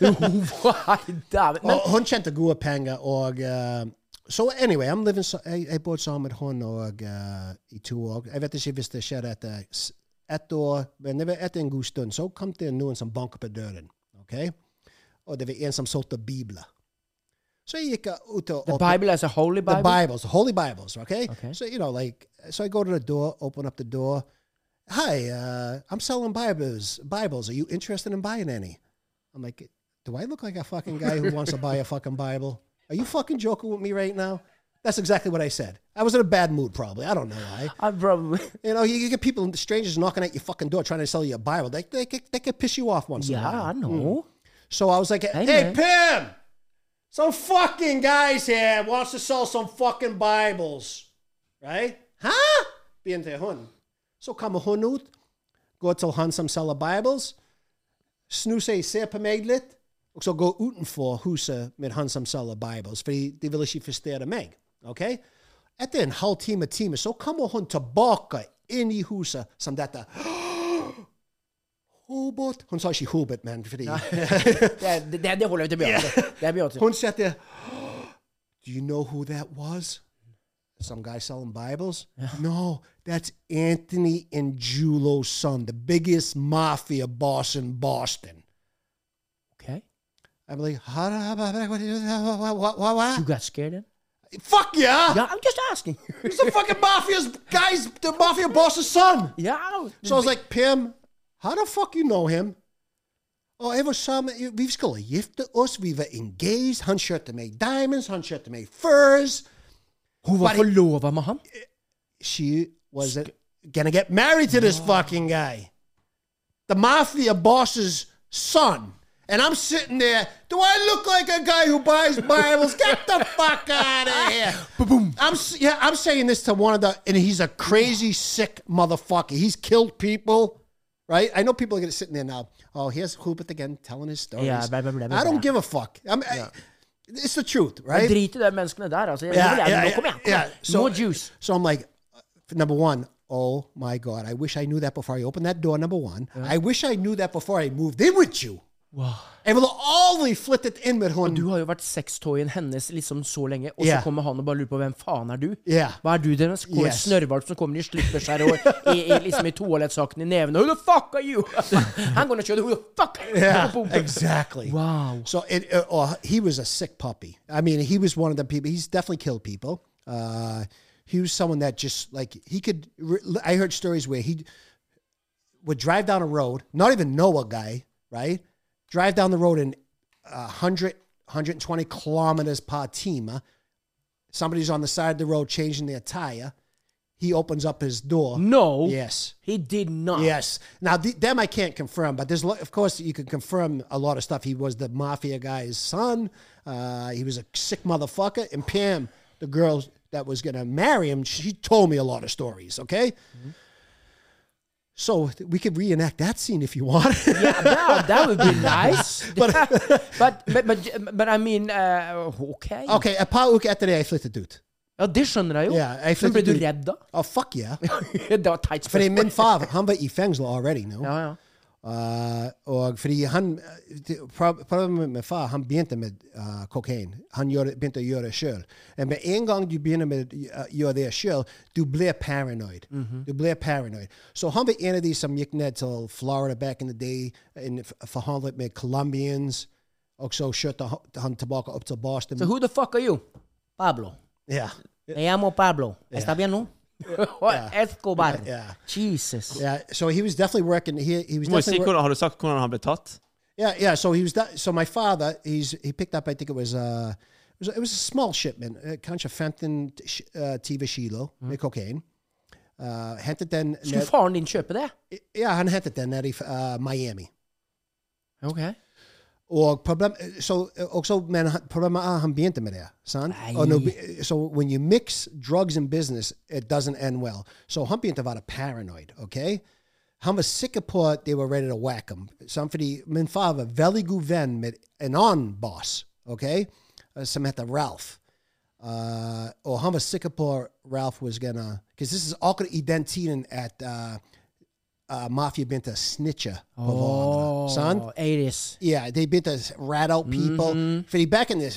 Speaker 6: Nei, dæven. Men
Speaker 5: Og hun tjente gode penger, og eh, Så anyway, I'm living, so, jeg, jeg bodde sammen med hun og, eh, i to år. Jeg vet ikke hvis det skjer etter s- ett år, men det var etter en god stund. Så kom det noen som banket på døren. ok? Og det var en som solgte bibler. Så jeg gikk eh, ut og
Speaker 6: The
Speaker 5: åpnet-
Speaker 6: Bible is a holy Bible.
Speaker 5: The Bibles, the Holy Bibles. Okay?
Speaker 6: Okay.
Speaker 5: So you know, like, so I go to the door, open up the door. Hi, uh, I'm selling Bibles. Bibles. Are you interested in buying any? I'm like, do I look like a fucking guy who wants to buy a fucking Bible? Are you fucking joking with me right now? That's exactly what I said. I was in a bad mood, probably. I don't know why.
Speaker 6: I probably.
Speaker 5: You know, you, you get people, strangers knocking at your fucking door trying to sell you a Bible. They, they, could- they could piss you off once in a
Speaker 6: Yeah,
Speaker 5: while. Mm.
Speaker 6: I know.
Speaker 5: So I was like, hey,
Speaker 6: man.
Speaker 5: Pim, some fucking guys here wants to sell some fucking Bibles. Right? Huh? Being to hun. So come hun ut, gå til han som selger Bibles, snu seg, se på meg litt, og så gå utenfor huset med han som selger Bibles, fordi de vil ikke forstyrre meg. Ok? Etter en halv time, time, så kommer hun tilbake inn i huset som dette. Hobart. Hun sa ikke Hobart, men fordi
Speaker 6: Det, er- det, det holder vi til Beyoncé. Det er Beyoncé.
Speaker 5: Hun sat there. Do you know who that was? Some guy selling Bibles? No, that's Anthony and Julo's son, the biggest mafia boss in Boston.
Speaker 6: Okay.
Speaker 5: I'm like, "Huh, huh, huh, huh, what, what, what, what,
Speaker 6: You
Speaker 5: what?
Speaker 6: got scared then?
Speaker 5: fuck yeah!
Speaker 6: Yeah, I'm just asking.
Speaker 5: He's the fucking mafia's guy's the mafia boss's son.
Speaker 6: yeah.
Speaker 5: So I was like, Pim, how the fuck you know him? Oh, Og jeg var sammen Vi skulle gifte oss, vi var engaged. Han kjøpte meg diamonds, han kjøpte meg furs.
Speaker 6: Hun var
Speaker 5: Bare-
Speaker 6: forlova med han?
Speaker 5: She was gonna get married to this fucking guy. The mafia boss's son. And I'm sitting there. Do I look like a guy who buys Bibles? Get the fuck out of here! Boom. I'm s- yeah. I'm saying this to one of the, and he's a crazy, sick motherfucker. He's killed people, right? I know people are gonna sitting there now. Oh, here's Hubert again telling his stories.
Speaker 6: Yeah, blah, blah, blah, blah,
Speaker 5: I don't
Speaker 6: blah.
Speaker 5: give a fuck. I'm, I, it's the truth, right?
Speaker 6: Drit i de menneskene der, altså. Jeg,
Speaker 5: Yeah,
Speaker 6: jeg,
Speaker 5: yeah,
Speaker 6: nå
Speaker 5: yeah,
Speaker 6: kom igjen.
Speaker 5: yeah.
Speaker 6: So, More juice.
Speaker 5: So I'm like, uh, number one, oh my God, I wish I knew that before I opened that door. Number one, I wish I knew that before I moved in with you.
Speaker 6: Wow.
Speaker 5: Jeg ville aldri flyttet inn med hun.
Speaker 6: Du har jo vært sextoyen hennes liksom så lenge, og
Speaker 5: Yeah.
Speaker 6: så kommer han og bare lurer på hvem faen er du?
Speaker 5: Yeah.
Speaker 6: Hva er du deres? Kommer
Speaker 5: Yes.
Speaker 6: Snørrvalp som kommer i slipperskjær og i, i, liksom i toalettsaken i nevene. Who the fuck are you? I'm gonna show you who the fuck are you?
Speaker 5: Yeah,
Speaker 6: Boom.
Speaker 5: exactly.
Speaker 6: Wow.
Speaker 5: So it, uh, uh, he was a sick puppy. I mean, he was one of the people. He's definitely killed people. Uh, he was someone that just like he could. Re- I heard stories where he would drive down a road, not even know a guy, right? Drive down the road in uh, 100, 120 kilometers per team. uh, Somebody's on the side of the road changing their tire. He opens up his door.
Speaker 6: No.
Speaker 5: Yes.
Speaker 6: He did not.
Speaker 5: Yes. Now th- them I can't confirm, but there's lo- of course you can confirm a lot of stuff. He was the mafia guy's son. Uh, he was a sick motherfucker. And Pam, the girl that was gonna marry him, she told me a lot of stories. Okay. So we could reenact that scene if you want.
Speaker 6: yeah, that, that would be nice. but, but, but, but, but I mean, uh, okay.
Speaker 5: Ok, et par uker etter det jeg flyttet ut.
Speaker 6: Ja, det skjønner jeg jo.
Speaker 5: Ja, jeg
Speaker 6: Men ble
Speaker 5: flyttet
Speaker 6: du
Speaker 5: ut.
Speaker 6: redd da?
Speaker 5: Oh, fuck yeah.
Speaker 6: det var teit
Speaker 5: Fordi
Speaker 6: spørsmål.
Speaker 5: min far, han var i fengsel already nå.
Speaker 6: Ja, ja.
Speaker 5: Uh, og fordi han det- prob- Problemet med far, han begynte med uh, kokain. Han gjorde, begynte å gjøre det sjøl. Med en gang du begynner med å uh, gjøre det sjøl, du blir paranoid.
Speaker 7: Mhm.
Speaker 5: Du blir paranoid. Så han var en av de som gikk ned til Florida back in the day og forhandlet med Colombians. Og så kjørte han- han tilbake opp til Boston.
Speaker 6: So who the fuck are you? Pablo.
Speaker 5: yeah.
Speaker 6: Me llamo Pablo. ¿Está bien, no? Escobar.
Speaker 5: Yeah.
Speaker 6: Jesus.
Speaker 5: Yeah, so he was definitely working. He, he was
Speaker 7: Du må jo si
Speaker 5: definitely wor-
Speaker 7: hvordan, Har du sagt hvordan han ble tatt?
Speaker 5: Yeah, yeah. So he was that. So my father, he's he picked up. I think it was uh, it was, it was a small shipment, a bunch of fentanyl, sh- uh, Tiva Shilo, med cocaine. Uh, hentet den
Speaker 6: Skulle faren din kjøpe det?
Speaker 5: Ja, han hentet den nede i uh, Miami.
Speaker 6: Ok.
Speaker 5: Og problem, so, også, men han- problemet er han begynte med det. sant? Og nå be- so when you mix drugs and business, it doesn't end well. Så han begynte å være paranoid. ok? Han var sikker på at de var ready to whack ham. sant? Fordi min far var veldig god venn med en annen boss ok? som heter Ralph. Uh, og han var sikker på Ralph was gonna Because this is akkurat i den tiden at uh, uh, mafia begynte å snitche på hverandre. sant?
Speaker 6: 80s.
Speaker 5: Yeah, they bit to rat out people.
Speaker 6: Mm-hmm.
Speaker 5: For the- back in the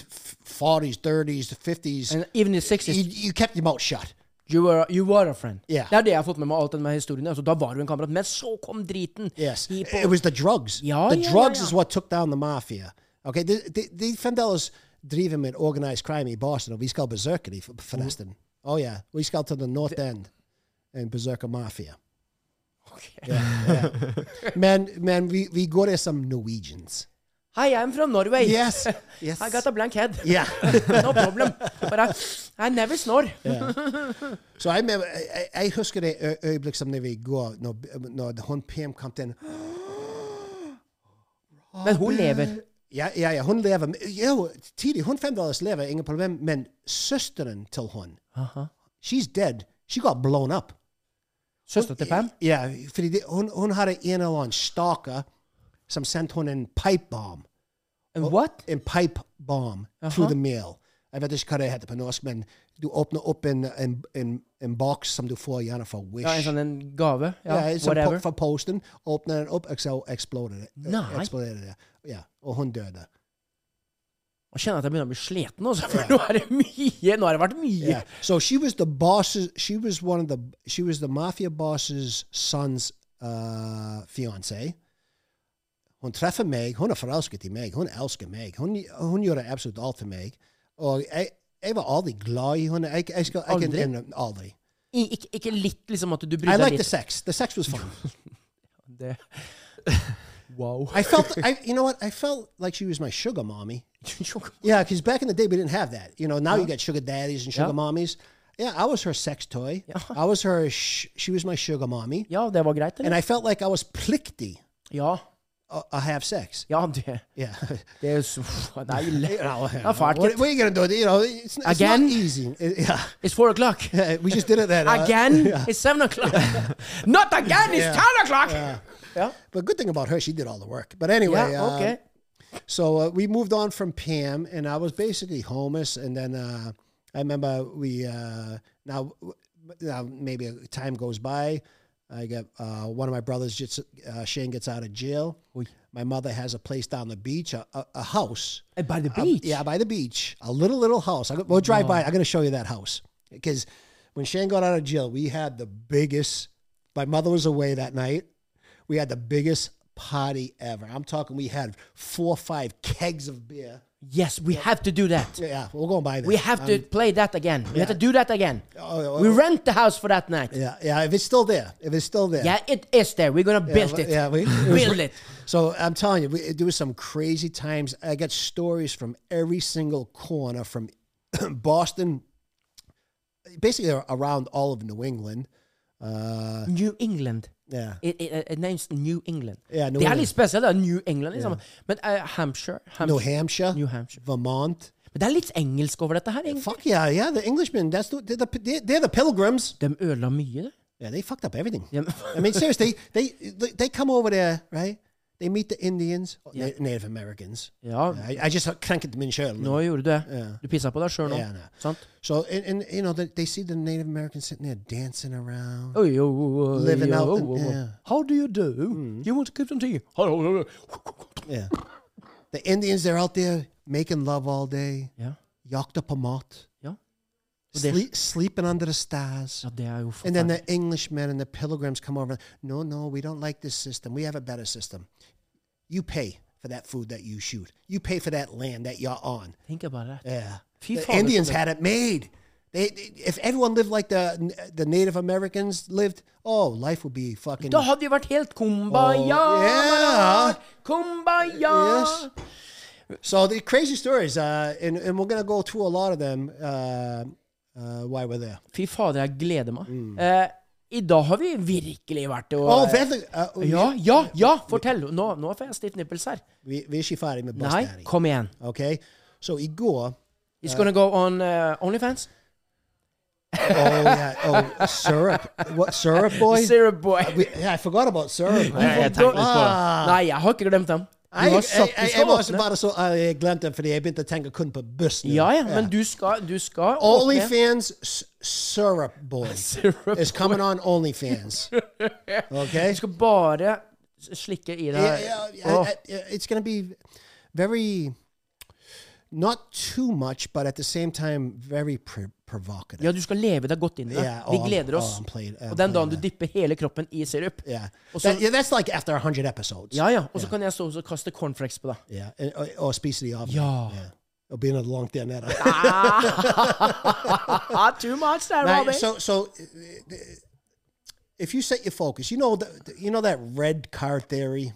Speaker 5: forties, thirties, fifties,
Speaker 6: And even the 60s.
Speaker 5: you, you kept your mouth shut.
Speaker 6: You were, you were a friend.
Speaker 5: Yeah.
Speaker 6: Det er det jeg har fått med meg alt denne historien. Altså, da var du en kamerat, men så kom driten.
Speaker 5: Yes,
Speaker 6: People-
Speaker 5: it was the drugs.
Speaker 6: Yeah,
Speaker 5: the
Speaker 6: yeah,
Speaker 5: drugs
Speaker 6: yeah, yeah.
Speaker 5: is what took down the mafia. Okay, the the, the Fendellas driven with organized crime in Boston. We called berserker for, for Aston. Oh yeah, we called to the North End and berserker mafia. Okay. Yeah, yeah. man, man, we we go to some Norwegians.
Speaker 6: Hi, I'm from Norway.
Speaker 5: Yes, yes.
Speaker 6: I got a blank head.
Speaker 5: Yeah.
Speaker 6: no problem. But I, I never snore.
Speaker 5: Så jeg, mener- jeg, jeg- jeg husker det ø- øyeblikk som når vi går, når, når hun Pam kom til
Speaker 6: Men hun lever.
Speaker 5: ja, ja, ja, hun lever jo, tidlig, hun fremdeles lever, ingen problem, men søsteren til hun, she's dead, she got blown up.
Speaker 6: Søster til Pam?
Speaker 5: Ja, fordi det, hun, hun hadde en eller annen staker som sendte hun en pipe bomb.
Speaker 6: And what? Uh-huh.
Speaker 5: En pipe bomb
Speaker 6: Aha.
Speaker 5: through the mail. Jeg vet ikke hva det heter på norsk, men du åpner opp en, en, en, en boks som du får gjerne fra Wish.
Speaker 6: Ja, en sånn en gave. Ja,
Speaker 5: Ja, sånn som
Speaker 6: whatever.
Speaker 5: po fra posten. Åpnet den opp, og så eksploderte det. Eh,
Speaker 6: Nei.
Speaker 5: eksploderte det. Ja, og hun døde.
Speaker 6: Jeg kjenner at jeg begynner å bli sliten, altså, for nå er det mye. Nå har det vært mye.
Speaker 5: Yeah. So she was the boss's. She was one of the. She was the mafia boss's son's uh, fiance. Hun treffer meg. Hun er forelsket i meg. Hun elsker meg. Hun, hun gjør absolutt alt for meg. Og jeg, jeg var aldri glad i henne. Jeg, jeg skal, jeg kan
Speaker 6: Aldri?
Speaker 5: innrømme- aldri.
Speaker 6: I, ikke, ikke litt, liksom, at du
Speaker 5: I
Speaker 6: bryr deg
Speaker 5: liked the
Speaker 6: litt.
Speaker 5: sex. The sex was fun.
Speaker 6: Det. Wow.
Speaker 5: I felt. I, you know what? I felt like she was my sugar mommy. Yeah, because back in the day we didn't have that. You know, now you got sugar daddies and sugar
Speaker 6: Uh-huh. Yeah.
Speaker 5: mommies. Yeah, I was her sex toy. I was her. Sh- she was my sugar mommy,
Speaker 6: ja, det var greit,
Speaker 5: and
Speaker 6: eller?
Speaker 5: I felt like I was plikty.
Speaker 6: Ja.
Speaker 5: I, I have sex.
Speaker 6: Ja, det,
Speaker 5: Yeah.
Speaker 6: det er så Det er ille.
Speaker 5: You know,
Speaker 6: Det er fælt,
Speaker 5: what,
Speaker 6: gitt.
Speaker 5: what are you gonna do? You know, it's, it's
Speaker 6: Again?
Speaker 5: not easy. It- yeah.
Speaker 6: It's four o'clock.
Speaker 5: Yeah, we just did it that uh,
Speaker 6: Again?
Speaker 5: yeah.
Speaker 6: It's seven o'clock. Not again! It's
Speaker 5: Yeah.
Speaker 6: ten o'clock! Ja.
Speaker 5: But good thing about her, she did all the work. But anyway,
Speaker 6: ja,
Speaker 5: uh,
Speaker 6: ok.
Speaker 5: So uh, we moved on from Pam, and I was basically homeless. And then uh, I remember we uh, now, now maybe time goes by. I got uh, one of my brothers, just, uh, Shane, gets out of jail. My mother has a place down the beach, a, a, a house.
Speaker 6: Eh, By the
Speaker 5: Um,
Speaker 6: beach? Oh.
Speaker 5: yeah, by the beach. A little, little house. I go, we'll drive by. I'm going to show you that house. Because when Shane got out of jail, we had the biggest, my mother was away that night. We had the biggest party ever. I'm talking, we had four or five kegs of beer.
Speaker 6: Yes, we have to do that.
Speaker 5: Yeah, we're going by there.
Speaker 6: We have to play that again. We have to do that again.
Speaker 5: Um, Oh, oh,
Speaker 6: We
Speaker 5: oh.
Speaker 6: rent the house for that night.
Speaker 5: Yeah, yeah, if it's still there. If it's still there.
Speaker 6: Yeah, it is there. We're gonna build
Speaker 5: we-
Speaker 6: it.
Speaker 5: yeah, we-
Speaker 6: build it.
Speaker 5: So I'm telling you, we, there was some crazy times. I got stories from every single corner from Boston, basically around all of New England. Uh,
Speaker 6: New England.
Speaker 5: yeah.
Speaker 6: It, it, it names New England.
Speaker 5: Yeah, New
Speaker 6: det er
Speaker 5: England.
Speaker 6: litt spesielt. da, New England. Liksom. Men eh, Hampshire, Hampshire
Speaker 5: New Hampshire,
Speaker 6: New Hampshire.
Speaker 5: Vermont.
Speaker 6: Men det er litt engelsk over dette her. egentlig.
Speaker 5: Fuck yeah, yeah. The Englishmen, that's the, they're, the, they're the pilgrims.
Speaker 6: De ødela mye, det.
Speaker 5: Yeah, they fucked up everything. I mean, seriously, they, they they come over there, right? They meet the Indians,
Speaker 6: Yeah. Oh.
Speaker 5: Na- Native Americans.
Speaker 6: Ja.
Speaker 5: I, I just krenket min sjøl.
Speaker 6: Nå gjorde du det. Du pissa på deg sjøl nå.
Speaker 5: Yeah, no.
Speaker 6: Sant?
Speaker 5: So and, and you know they, they see the Native Americans sitting there dancing around.
Speaker 6: Oi, oi, oi, oi,
Speaker 5: Living
Speaker 6: oi,
Speaker 5: out
Speaker 6: oi,
Speaker 5: the- Mm.
Speaker 6: oi, oi.
Speaker 5: yeah.
Speaker 6: How do you do? You want to keep some tea? Hello, hello, hello.
Speaker 5: Yeah. the Indians they're out there making love all day.
Speaker 6: Yeah.
Speaker 5: Yakta Pamat.
Speaker 6: Yeah. they're-
Speaker 5: Sleep, sleeping under the stars.
Speaker 6: Ja, det er jo
Speaker 5: And then
Speaker 6: forferdelig.
Speaker 5: the Englishmen and the pilgrims come over. No, no, we don't like this system. We have a better system. You pay for that food that you shoot. You pay for that land that you're on.
Speaker 6: Think about that.
Speaker 5: Yeah.
Speaker 6: Fy
Speaker 5: the
Speaker 6: faen,
Speaker 5: Indians
Speaker 6: det er-
Speaker 5: had it made. They, they- if everyone lived like the the Native Americans lived, oh, life would be fucking.
Speaker 6: Da hadde vi vært helt kumbaya!
Speaker 5: Oh, yeah.
Speaker 6: manar. Kumbaya!
Speaker 5: Yes. So the crazy stories, uh, and, and we're gonna go through a lot of them. Uh, uh, why we're there?
Speaker 6: Fy fader, jeg gleder meg.
Speaker 5: Mm.
Speaker 6: Eh, I dag har vi virkelig vært og
Speaker 5: Oh, vent, uh,
Speaker 6: Ja, ja, ja! Fortell! Nå, nå får jeg stiff nipples her.
Speaker 5: Vi, vi er ikke ferdig med Boss
Speaker 6: Nei,
Speaker 5: Daddy.
Speaker 6: kom igjen.
Speaker 5: Okay, so oh, i går.
Speaker 6: It's gonna go on eh, Onlyfans.
Speaker 5: Oh yeah. Oh syrup. What syrup boy? Ah, Uh,
Speaker 6: Syrup boy. Ah.
Speaker 5: We, yeah, I forgot about syrup. Ah.
Speaker 7: Nei, jeg tenkte litt på det.
Speaker 6: Nei, jeg har ikke glemt dem. Du
Speaker 5: Jeg,
Speaker 6: har
Speaker 5: jeg,
Speaker 6: sagt du
Speaker 5: jeg, jeg
Speaker 6: skal
Speaker 5: var også
Speaker 6: åpne.
Speaker 5: bare så jeg glemte den, fordi jeg begynte å tenke kun på bussen.
Speaker 6: Ja, ja, men du skal, du skal åpne.
Speaker 5: OnlyFans s- syrup boy is coming on OnlyFans. Okay.
Speaker 6: Du skal bare s- slikke i det
Speaker 5: Yeah,
Speaker 6: her.
Speaker 5: yeah, yeah,
Speaker 6: Åh,
Speaker 5: I- I- it's going to be very not too much, but at the same time very pr- provocative.
Speaker 6: Ja, du skal leve deg godt inn i det.
Speaker 5: Yeah,
Speaker 6: Vi
Speaker 5: oh, I'm-
Speaker 6: gleder
Speaker 5: oh,
Speaker 6: oss.
Speaker 5: I'm played- I'm
Speaker 6: Og den dagen du
Speaker 5: played,
Speaker 6: dipper hele kroppen i sirup
Speaker 5: Yeah,
Speaker 6: Og så-
Speaker 5: That- yeah, that's like after hundred episodes.
Speaker 6: Ja, ja. Og så kan jeg stå og kaste cornflakes på deg.
Speaker 5: yeah, and, uh, or, or speaks of the oven.
Speaker 6: Ja.
Speaker 5: yeah. it'll be another long day on that.
Speaker 6: Ah, too much there,
Speaker 5: Now,
Speaker 6: Robbie.
Speaker 5: so so uh, if you set your focus, you know the, you know that red car theory.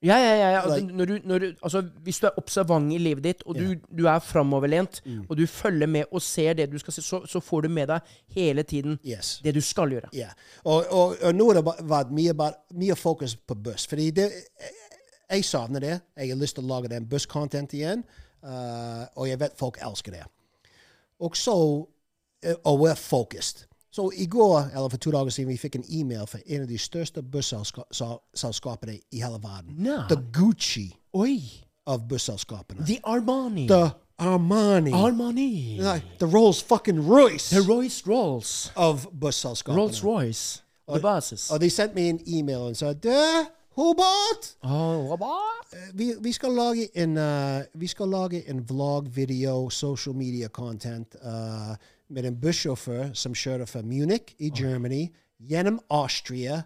Speaker 6: Ja, ja, ja. ja.
Speaker 5: Like-
Speaker 6: Når du, når du, altså, hvis du er observant i livet ditt, og du, du er framoverlent,
Speaker 5: Mm.
Speaker 6: og du følger med og ser det du skal se, så, så får du med deg hele tiden
Speaker 5: Yes.
Speaker 6: det du skal gjøre.
Speaker 5: Yeah. Og, og, og nå er det ba- vært mye, bare- mye fokus på buss. Fordi det, jeg savner det. Jeg har lyst til å lage den buss-content igjen. eh, og jeg vet folk elsker det. Og så eh, Og we're focused. Så i går, eller for to dager siden, vi fikk en e-mail fra en av de største busselskapene i hele verden.
Speaker 6: Nei.
Speaker 5: The Gucci
Speaker 6: Oi!
Speaker 5: of busselskapene.
Speaker 6: The Armani.
Speaker 5: The Armani.
Speaker 6: Armani.
Speaker 5: Like, the Rolls fucking Royce
Speaker 6: The Royce-Rolls.
Speaker 5: of busselskapene.
Speaker 6: Rolls-Royce. The basis.
Speaker 5: Og de sendte meg en e-mail og sa Du, Hobart!
Speaker 6: Oh, hva?
Speaker 5: eh, Vi, vi skal lage en eh, Vi skal lage en vlog, video, social media content eh, med en bussjåfør som kjører fra Munich i Germany, gjennom Austria,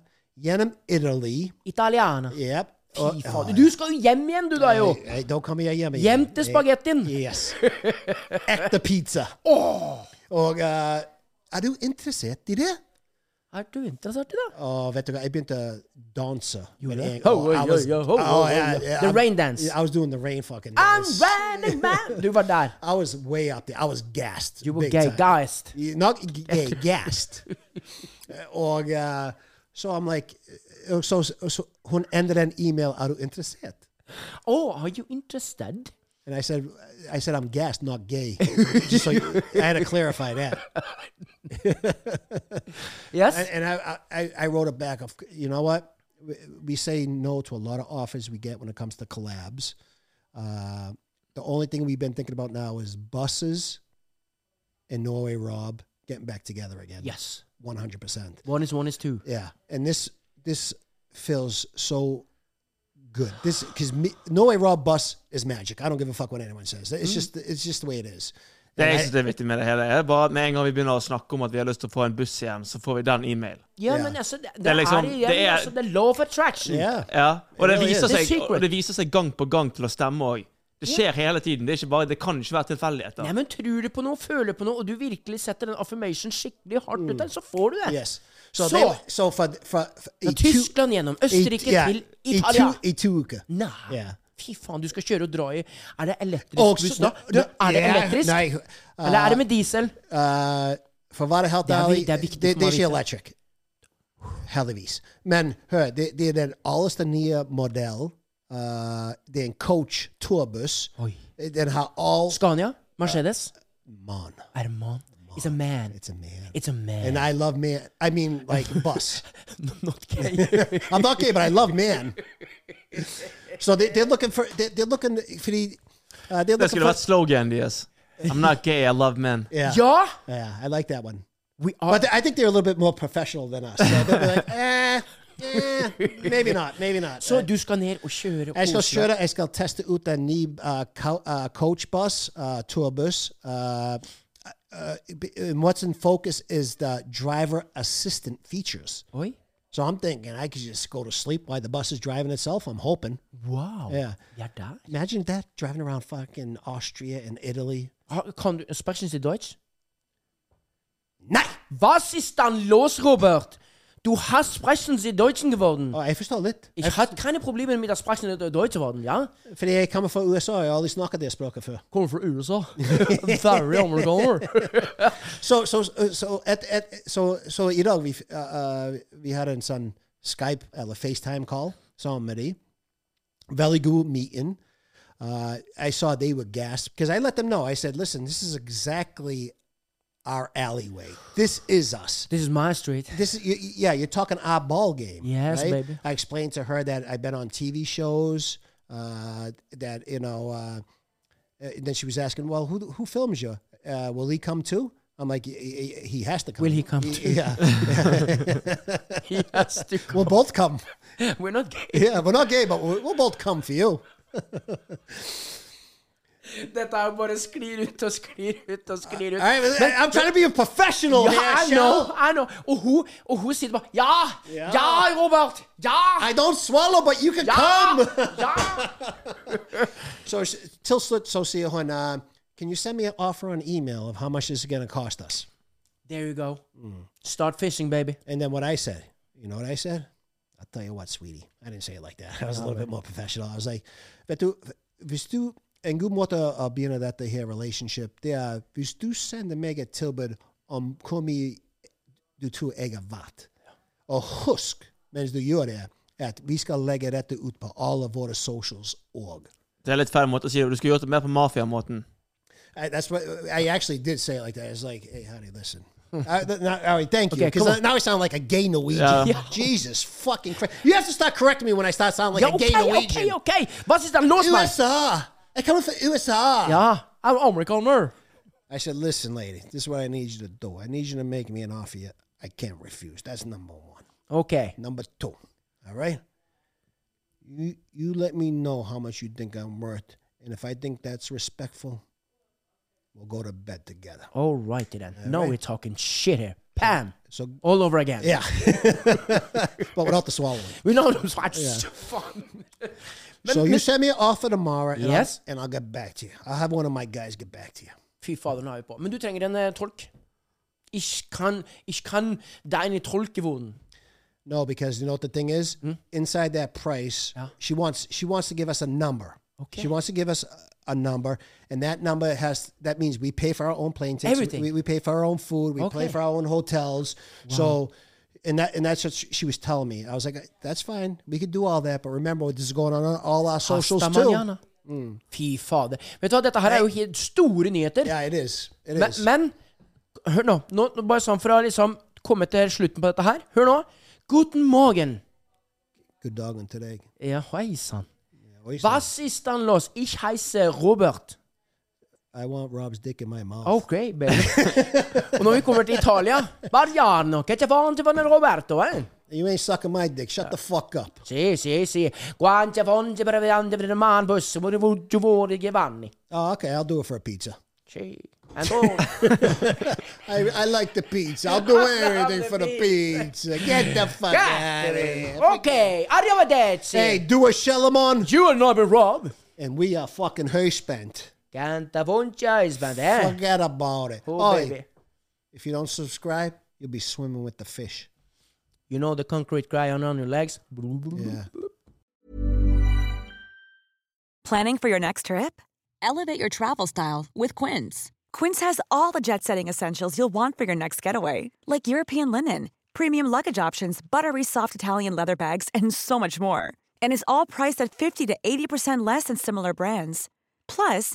Speaker 5: gjennom Italy
Speaker 6: Italiana.
Speaker 5: yep. og-
Speaker 6: Fy fader. Du skal jo hjem igjen, du da, jo!
Speaker 5: Nei, nei, Da kommer jeg hjem igjen.
Speaker 6: Hjem til spagettien!
Speaker 5: Yes. Ekte pizza. Og eh, er du interessert i det?
Speaker 6: Er du interessert i det?
Speaker 5: Og vet du hva, jeg begynte å danse. med
Speaker 6: det?
Speaker 5: en-
Speaker 6: Ho,
Speaker 5: og jeg
Speaker 6: ho,
Speaker 5: was-
Speaker 6: ho, ho, ho,
Speaker 5: Oh,
Speaker 6: ho,
Speaker 5: yeah,
Speaker 6: ho.
Speaker 5: yeah,
Speaker 6: The
Speaker 5: I'm-
Speaker 6: rain dance.
Speaker 5: I was doing the rain fucking
Speaker 6: I'm
Speaker 5: dance.
Speaker 6: running man! Du var der.
Speaker 5: I was way up there. I was gassed.
Speaker 6: You were
Speaker 5: big
Speaker 6: gay,
Speaker 5: time.
Speaker 6: guys.
Speaker 5: Yeah, Not g- gay, gassed. og uh, so I'm like, uh, so, so, so hun endte den e-mail, er du interessert?
Speaker 6: Oh, are you interested?
Speaker 5: And I said, I said, I'm gassed, not gay. Just so you- I had to clarify that.
Speaker 6: Yes?
Speaker 5: And, and I, I, I wrote it back. Of you know what? We, we say no to a lot of offers we get when it comes to collabs. Uh, the only thing we've been thinking about now is buses and Norway Rob getting back together again.
Speaker 6: Yes.
Speaker 5: one hundred percent.
Speaker 6: One is one is two.
Speaker 5: Yeah, and this this feels so good. This because Norway Rob bus is magic. I don't give a fuck what anyone says. It's just it's just the way it is.
Speaker 7: Det
Speaker 5: And I-
Speaker 7: jeg synes er viktig med det hele, er bare at med en gang vi begynner å snakke om at vi har lyst til å få en buss igjen, så får vi den e-mailen.
Speaker 6: Ja,
Speaker 5: Ja.
Speaker 6: men altså, det, det,
Speaker 7: er liksom-
Speaker 6: er igjen
Speaker 7: det er-
Speaker 6: altså, the law of attraction.
Speaker 5: yeah.
Speaker 7: Ja. Og det
Speaker 5: Ja, ja.
Speaker 7: viser,
Speaker 6: Det er
Speaker 7: seg,
Speaker 6: secret.
Speaker 7: og det viser seg gang på gang til å stemme òg. Det skjer hele tiden. Det, er ikke bare, det kan ikke være tilfeldigheter.
Speaker 6: Nei, men tror du på noe, føler på noe, og du virkelig setter den affirmation skikkelig hardt ut der, så får du det.
Speaker 5: Mm. Yes. So,
Speaker 6: Så-
Speaker 5: they, so for, for, for e
Speaker 6: Fra
Speaker 5: i tu-
Speaker 6: Tyskland gjennom Østerrike
Speaker 5: i- ja,
Speaker 6: til
Speaker 5: i
Speaker 6: Italia.
Speaker 5: tu- I to uker.
Speaker 6: Nei.
Speaker 5: Ja.
Speaker 6: Fy faen, du skal kjøre og dra i Er det elektrisk
Speaker 5: Og
Speaker 6: buss
Speaker 5: så-
Speaker 6: da? Du,
Speaker 5: da-
Speaker 6: er det
Speaker 5: ja,
Speaker 6: elektrisk?
Speaker 5: nei, uh,
Speaker 6: Eller er det med diesel?
Speaker 5: Eh, for å være helt
Speaker 6: Det er vi-
Speaker 5: ærlig,
Speaker 6: det er viktig
Speaker 5: det, det
Speaker 6: for meg å
Speaker 5: er ikke
Speaker 6: vite.
Speaker 5: electric. Heldigvis. Men hør, det, det er den aller nye modell. Eh, det er en coach tourbuss.
Speaker 6: Oi.
Speaker 5: Den har all
Speaker 6: Scania? Mercedes?
Speaker 5: Man.
Speaker 6: Erman? It's a man. It's
Speaker 5: a man.
Speaker 6: It's a man.
Speaker 5: And I love man. I mean, like bus.
Speaker 6: I'm not gay.
Speaker 5: I'm not gay, but I love man. So they, they're looking for they're, they're looking for the uh, they're
Speaker 7: Det
Speaker 5: looking
Speaker 7: skulle
Speaker 5: for
Speaker 7: vært sloganen deres. I'm not gay, I love men.
Speaker 5: yeah
Speaker 6: Ja?
Speaker 5: yeah I like that one.
Speaker 6: We are.
Speaker 5: But I think they're a little bit more professional than us. So they'll be like, eh, eh, maybe not, maybe not.
Speaker 6: Så du skal ned og kjøre
Speaker 5: Jeg skal
Speaker 6: Oslo.
Speaker 5: kjøre, jeg skal teste ut en ny uh, co- uh, coachbus, uh, tourbuss. Uh, uh, and what's in focus is the driver assistant features.
Speaker 6: Oi.
Speaker 5: So I'm thinking I could just go to sleep while the bus is driving itself. I'm hoping.
Speaker 6: Wow.
Speaker 5: Yeah.
Speaker 6: Ja, der.
Speaker 5: Imagine that driving around fucking Austria and Italy.
Speaker 6: Har- Kan du spørsmål til Deutsch?
Speaker 5: Nei!
Speaker 6: Was ist dann los, Robert? Du hast sprechen Sie Deutschen geworden.
Speaker 5: Oh, jeg forstår litt.
Speaker 6: Hmm. Ich hatte keine Probleme mit der Sprechen der Deutsch geworden, ja?
Speaker 5: Fordi jeg kommer fra USA, jeg har aldri snakket det språket før.
Speaker 6: Kommer fra USA. Very amerikaner.
Speaker 5: Så, så, så, et, et, så, så i dag vi, uh, uh, vi hadde en sånn Skype uh, eller FaceTime-call sammen med de. Veldig god meeting. Uh, I saw they were gasped because I let them know. I said, listen, this is exactly our alleyway. This is us.
Speaker 6: This is my street.
Speaker 5: This is, y- y- yeah, you're talking our ball game.
Speaker 6: Yes,
Speaker 5: right?
Speaker 6: baby.
Speaker 5: I explained to her that I've been on TV shows, uh, that, you know, uh, and then she was asking, well, who, who films you? Uh, will he come too? I'm like, "Y- y- y- he has to come.
Speaker 6: Will he come
Speaker 5: Y-
Speaker 6: too?
Speaker 5: Yeah.
Speaker 6: He has to come.
Speaker 5: we'll both come.
Speaker 6: We're not gay.
Speaker 5: Yeah, we're not gay, but we'll, we'll both come for you.
Speaker 6: Dette er jo bare sklir ut og sklir ut og sklir ut.
Speaker 5: All right, I- I'm trying to be a professional
Speaker 6: Ja,
Speaker 5: here,
Speaker 6: I
Speaker 5: Shell.
Speaker 6: know, I know. Og hun, og hun sitter bare Ja!
Speaker 5: Ja.
Speaker 6: Ja, Robert! Ja!
Speaker 5: I don't swallow, but you can
Speaker 6: Ja!
Speaker 5: come.
Speaker 6: ja!
Speaker 5: So s- till slit so see when uh, can you send me an offer on email of how much this is going to cost us?
Speaker 6: There you go.
Speaker 5: Mm.
Speaker 6: Start fishing, baby.
Speaker 5: And then what I said, you know what I said? I'll tell you what, sweetie. I didn't say it like that. I was a little bit more professional. I was like, vet du, hvis du, en god måte å begynne dette her relationship, det er hvis du sender meg et tilbud om hvor mye du tror jeg er verdt. Og husk, mens du gjør det, at vi skal legge dette ut på alle våre socials og.
Speaker 7: Det er litt feil måte å si det. Du skulle gjort det mer på mafiamåten.
Speaker 5: I, that's what I actually did say it like that. It's like, hey, honey, listen. I, th- now, all right, thank you.
Speaker 6: Hmm. Okay,
Speaker 5: Because
Speaker 6: come on.
Speaker 5: now I sound like a gay Norwegian.
Speaker 7: Yeah.
Speaker 6: Yeah.
Speaker 5: Jesus fucking Christ! You have to start correcting me when I start sounding like
Speaker 6: Ja,
Speaker 5: a gay
Speaker 6: OK, OK,
Speaker 5: Norwegian.
Speaker 6: OK! Hva er det låst meg?
Speaker 5: USA. I come from USA.
Speaker 6: Ja, I'm amerikaner.
Speaker 5: I said, listen, lady, this is what I need you to do. I need you to make me an offer. You, I can't refuse. That's number one.
Speaker 6: OK.
Speaker 5: Number two. All right. You you let me know how much you think I'm worth, and if I think that's respectful, we'll go to bed together.
Speaker 6: All righty then.
Speaker 5: All
Speaker 6: Now
Speaker 5: right.
Speaker 6: we're talking shit here. Pam.
Speaker 5: So
Speaker 6: All over again.
Speaker 5: Yeah. but without the swallowing.
Speaker 6: We know those watches. Fun.
Speaker 5: so you send me an offer tomorrow. And
Speaker 6: Yes.
Speaker 5: I'll, and I'll get back to you. I'll have one of my guys get back to you.
Speaker 6: Fy fader, nå er vi på. Men du trenger en eh, tolk. Ich kann, ich kann deine Tolke wohnen.
Speaker 5: No, because you know what the thing is? Inside that price,
Speaker 6: Hmm? Yeah.
Speaker 5: she wants she wants to give us a number.
Speaker 6: Okay.
Speaker 5: She wants to give us a- a number, and that number has that means we pay for our own plane tickets. we-
Speaker 6: Everything.
Speaker 5: We, we pay for our own food. We pay
Speaker 6: Okay.
Speaker 5: for our own hotels. So, and that and that's what sh- she was telling me. I was like, "That's fine. We could do all that, but remember, this is going on on all our socials
Speaker 6: Hasta
Speaker 5: too."
Speaker 6: mañana. Fy fader. Vet du hva, dette her er jo helt store nyheter.
Speaker 5: Yeah, it is. It
Speaker 6: Men,
Speaker 5: is.
Speaker 6: men hør nå. nå. nå Bare sånn for å liksom komme til slutten på dette her. Hør nå. Guten morgen.
Speaker 5: Good dog and today.
Speaker 6: Ja, hei sann.
Speaker 5: What do you say?
Speaker 6: Was ist dann los? Ich heiße Robert.
Speaker 5: I want Rob's dick in my mouth.
Speaker 6: Ok, baby. Og når vi kommer til Italia Barriano, che te fan til vannet Roberto, eh?
Speaker 5: You ain't sucking my dick. Shut the fuck up.
Speaker 6: Sì, sì, sì. Quante fonti per vedere per man buss, vuole vuole vuole Giovanni.
Speaker 5: Oh, okay. I'll do it for a pizza.
Speaker 6: Sì. And all.
Speaker 5: I, I like the pizza. I'll do anything for the pizza. Get the fuck out of here.
Speaker 6: Ok, arrivederci.
Speaker 5: Hey, do a Shellamon,
Speaker 6: You are not a Rob.
Speaker 5: and we are fucking her spent.
Speaker 6: Quanta foncia is bad, eh?
Speaker 5: Forget about it.
Speaker 6: Oh,
Speaker 5: Oi,
Speaker 6: baby.
Speaker 5: if you don't subscribe, you'll be swimming with the fish.
Speaker 6: You know the concrete crayon on your legs?
Speaker 5: Yeah.
Speaker 11: Planning for your next trip?
Speaker 12: Elevate your travel style with Quince.
Speaker 11: Quince has all the jet setting essentials you'll want for your next getaway, like European linen, premium luggage options, buttery soft Italian leather bags, and so much more. And is all priced at 50 to 80% less than similar brands. Plus,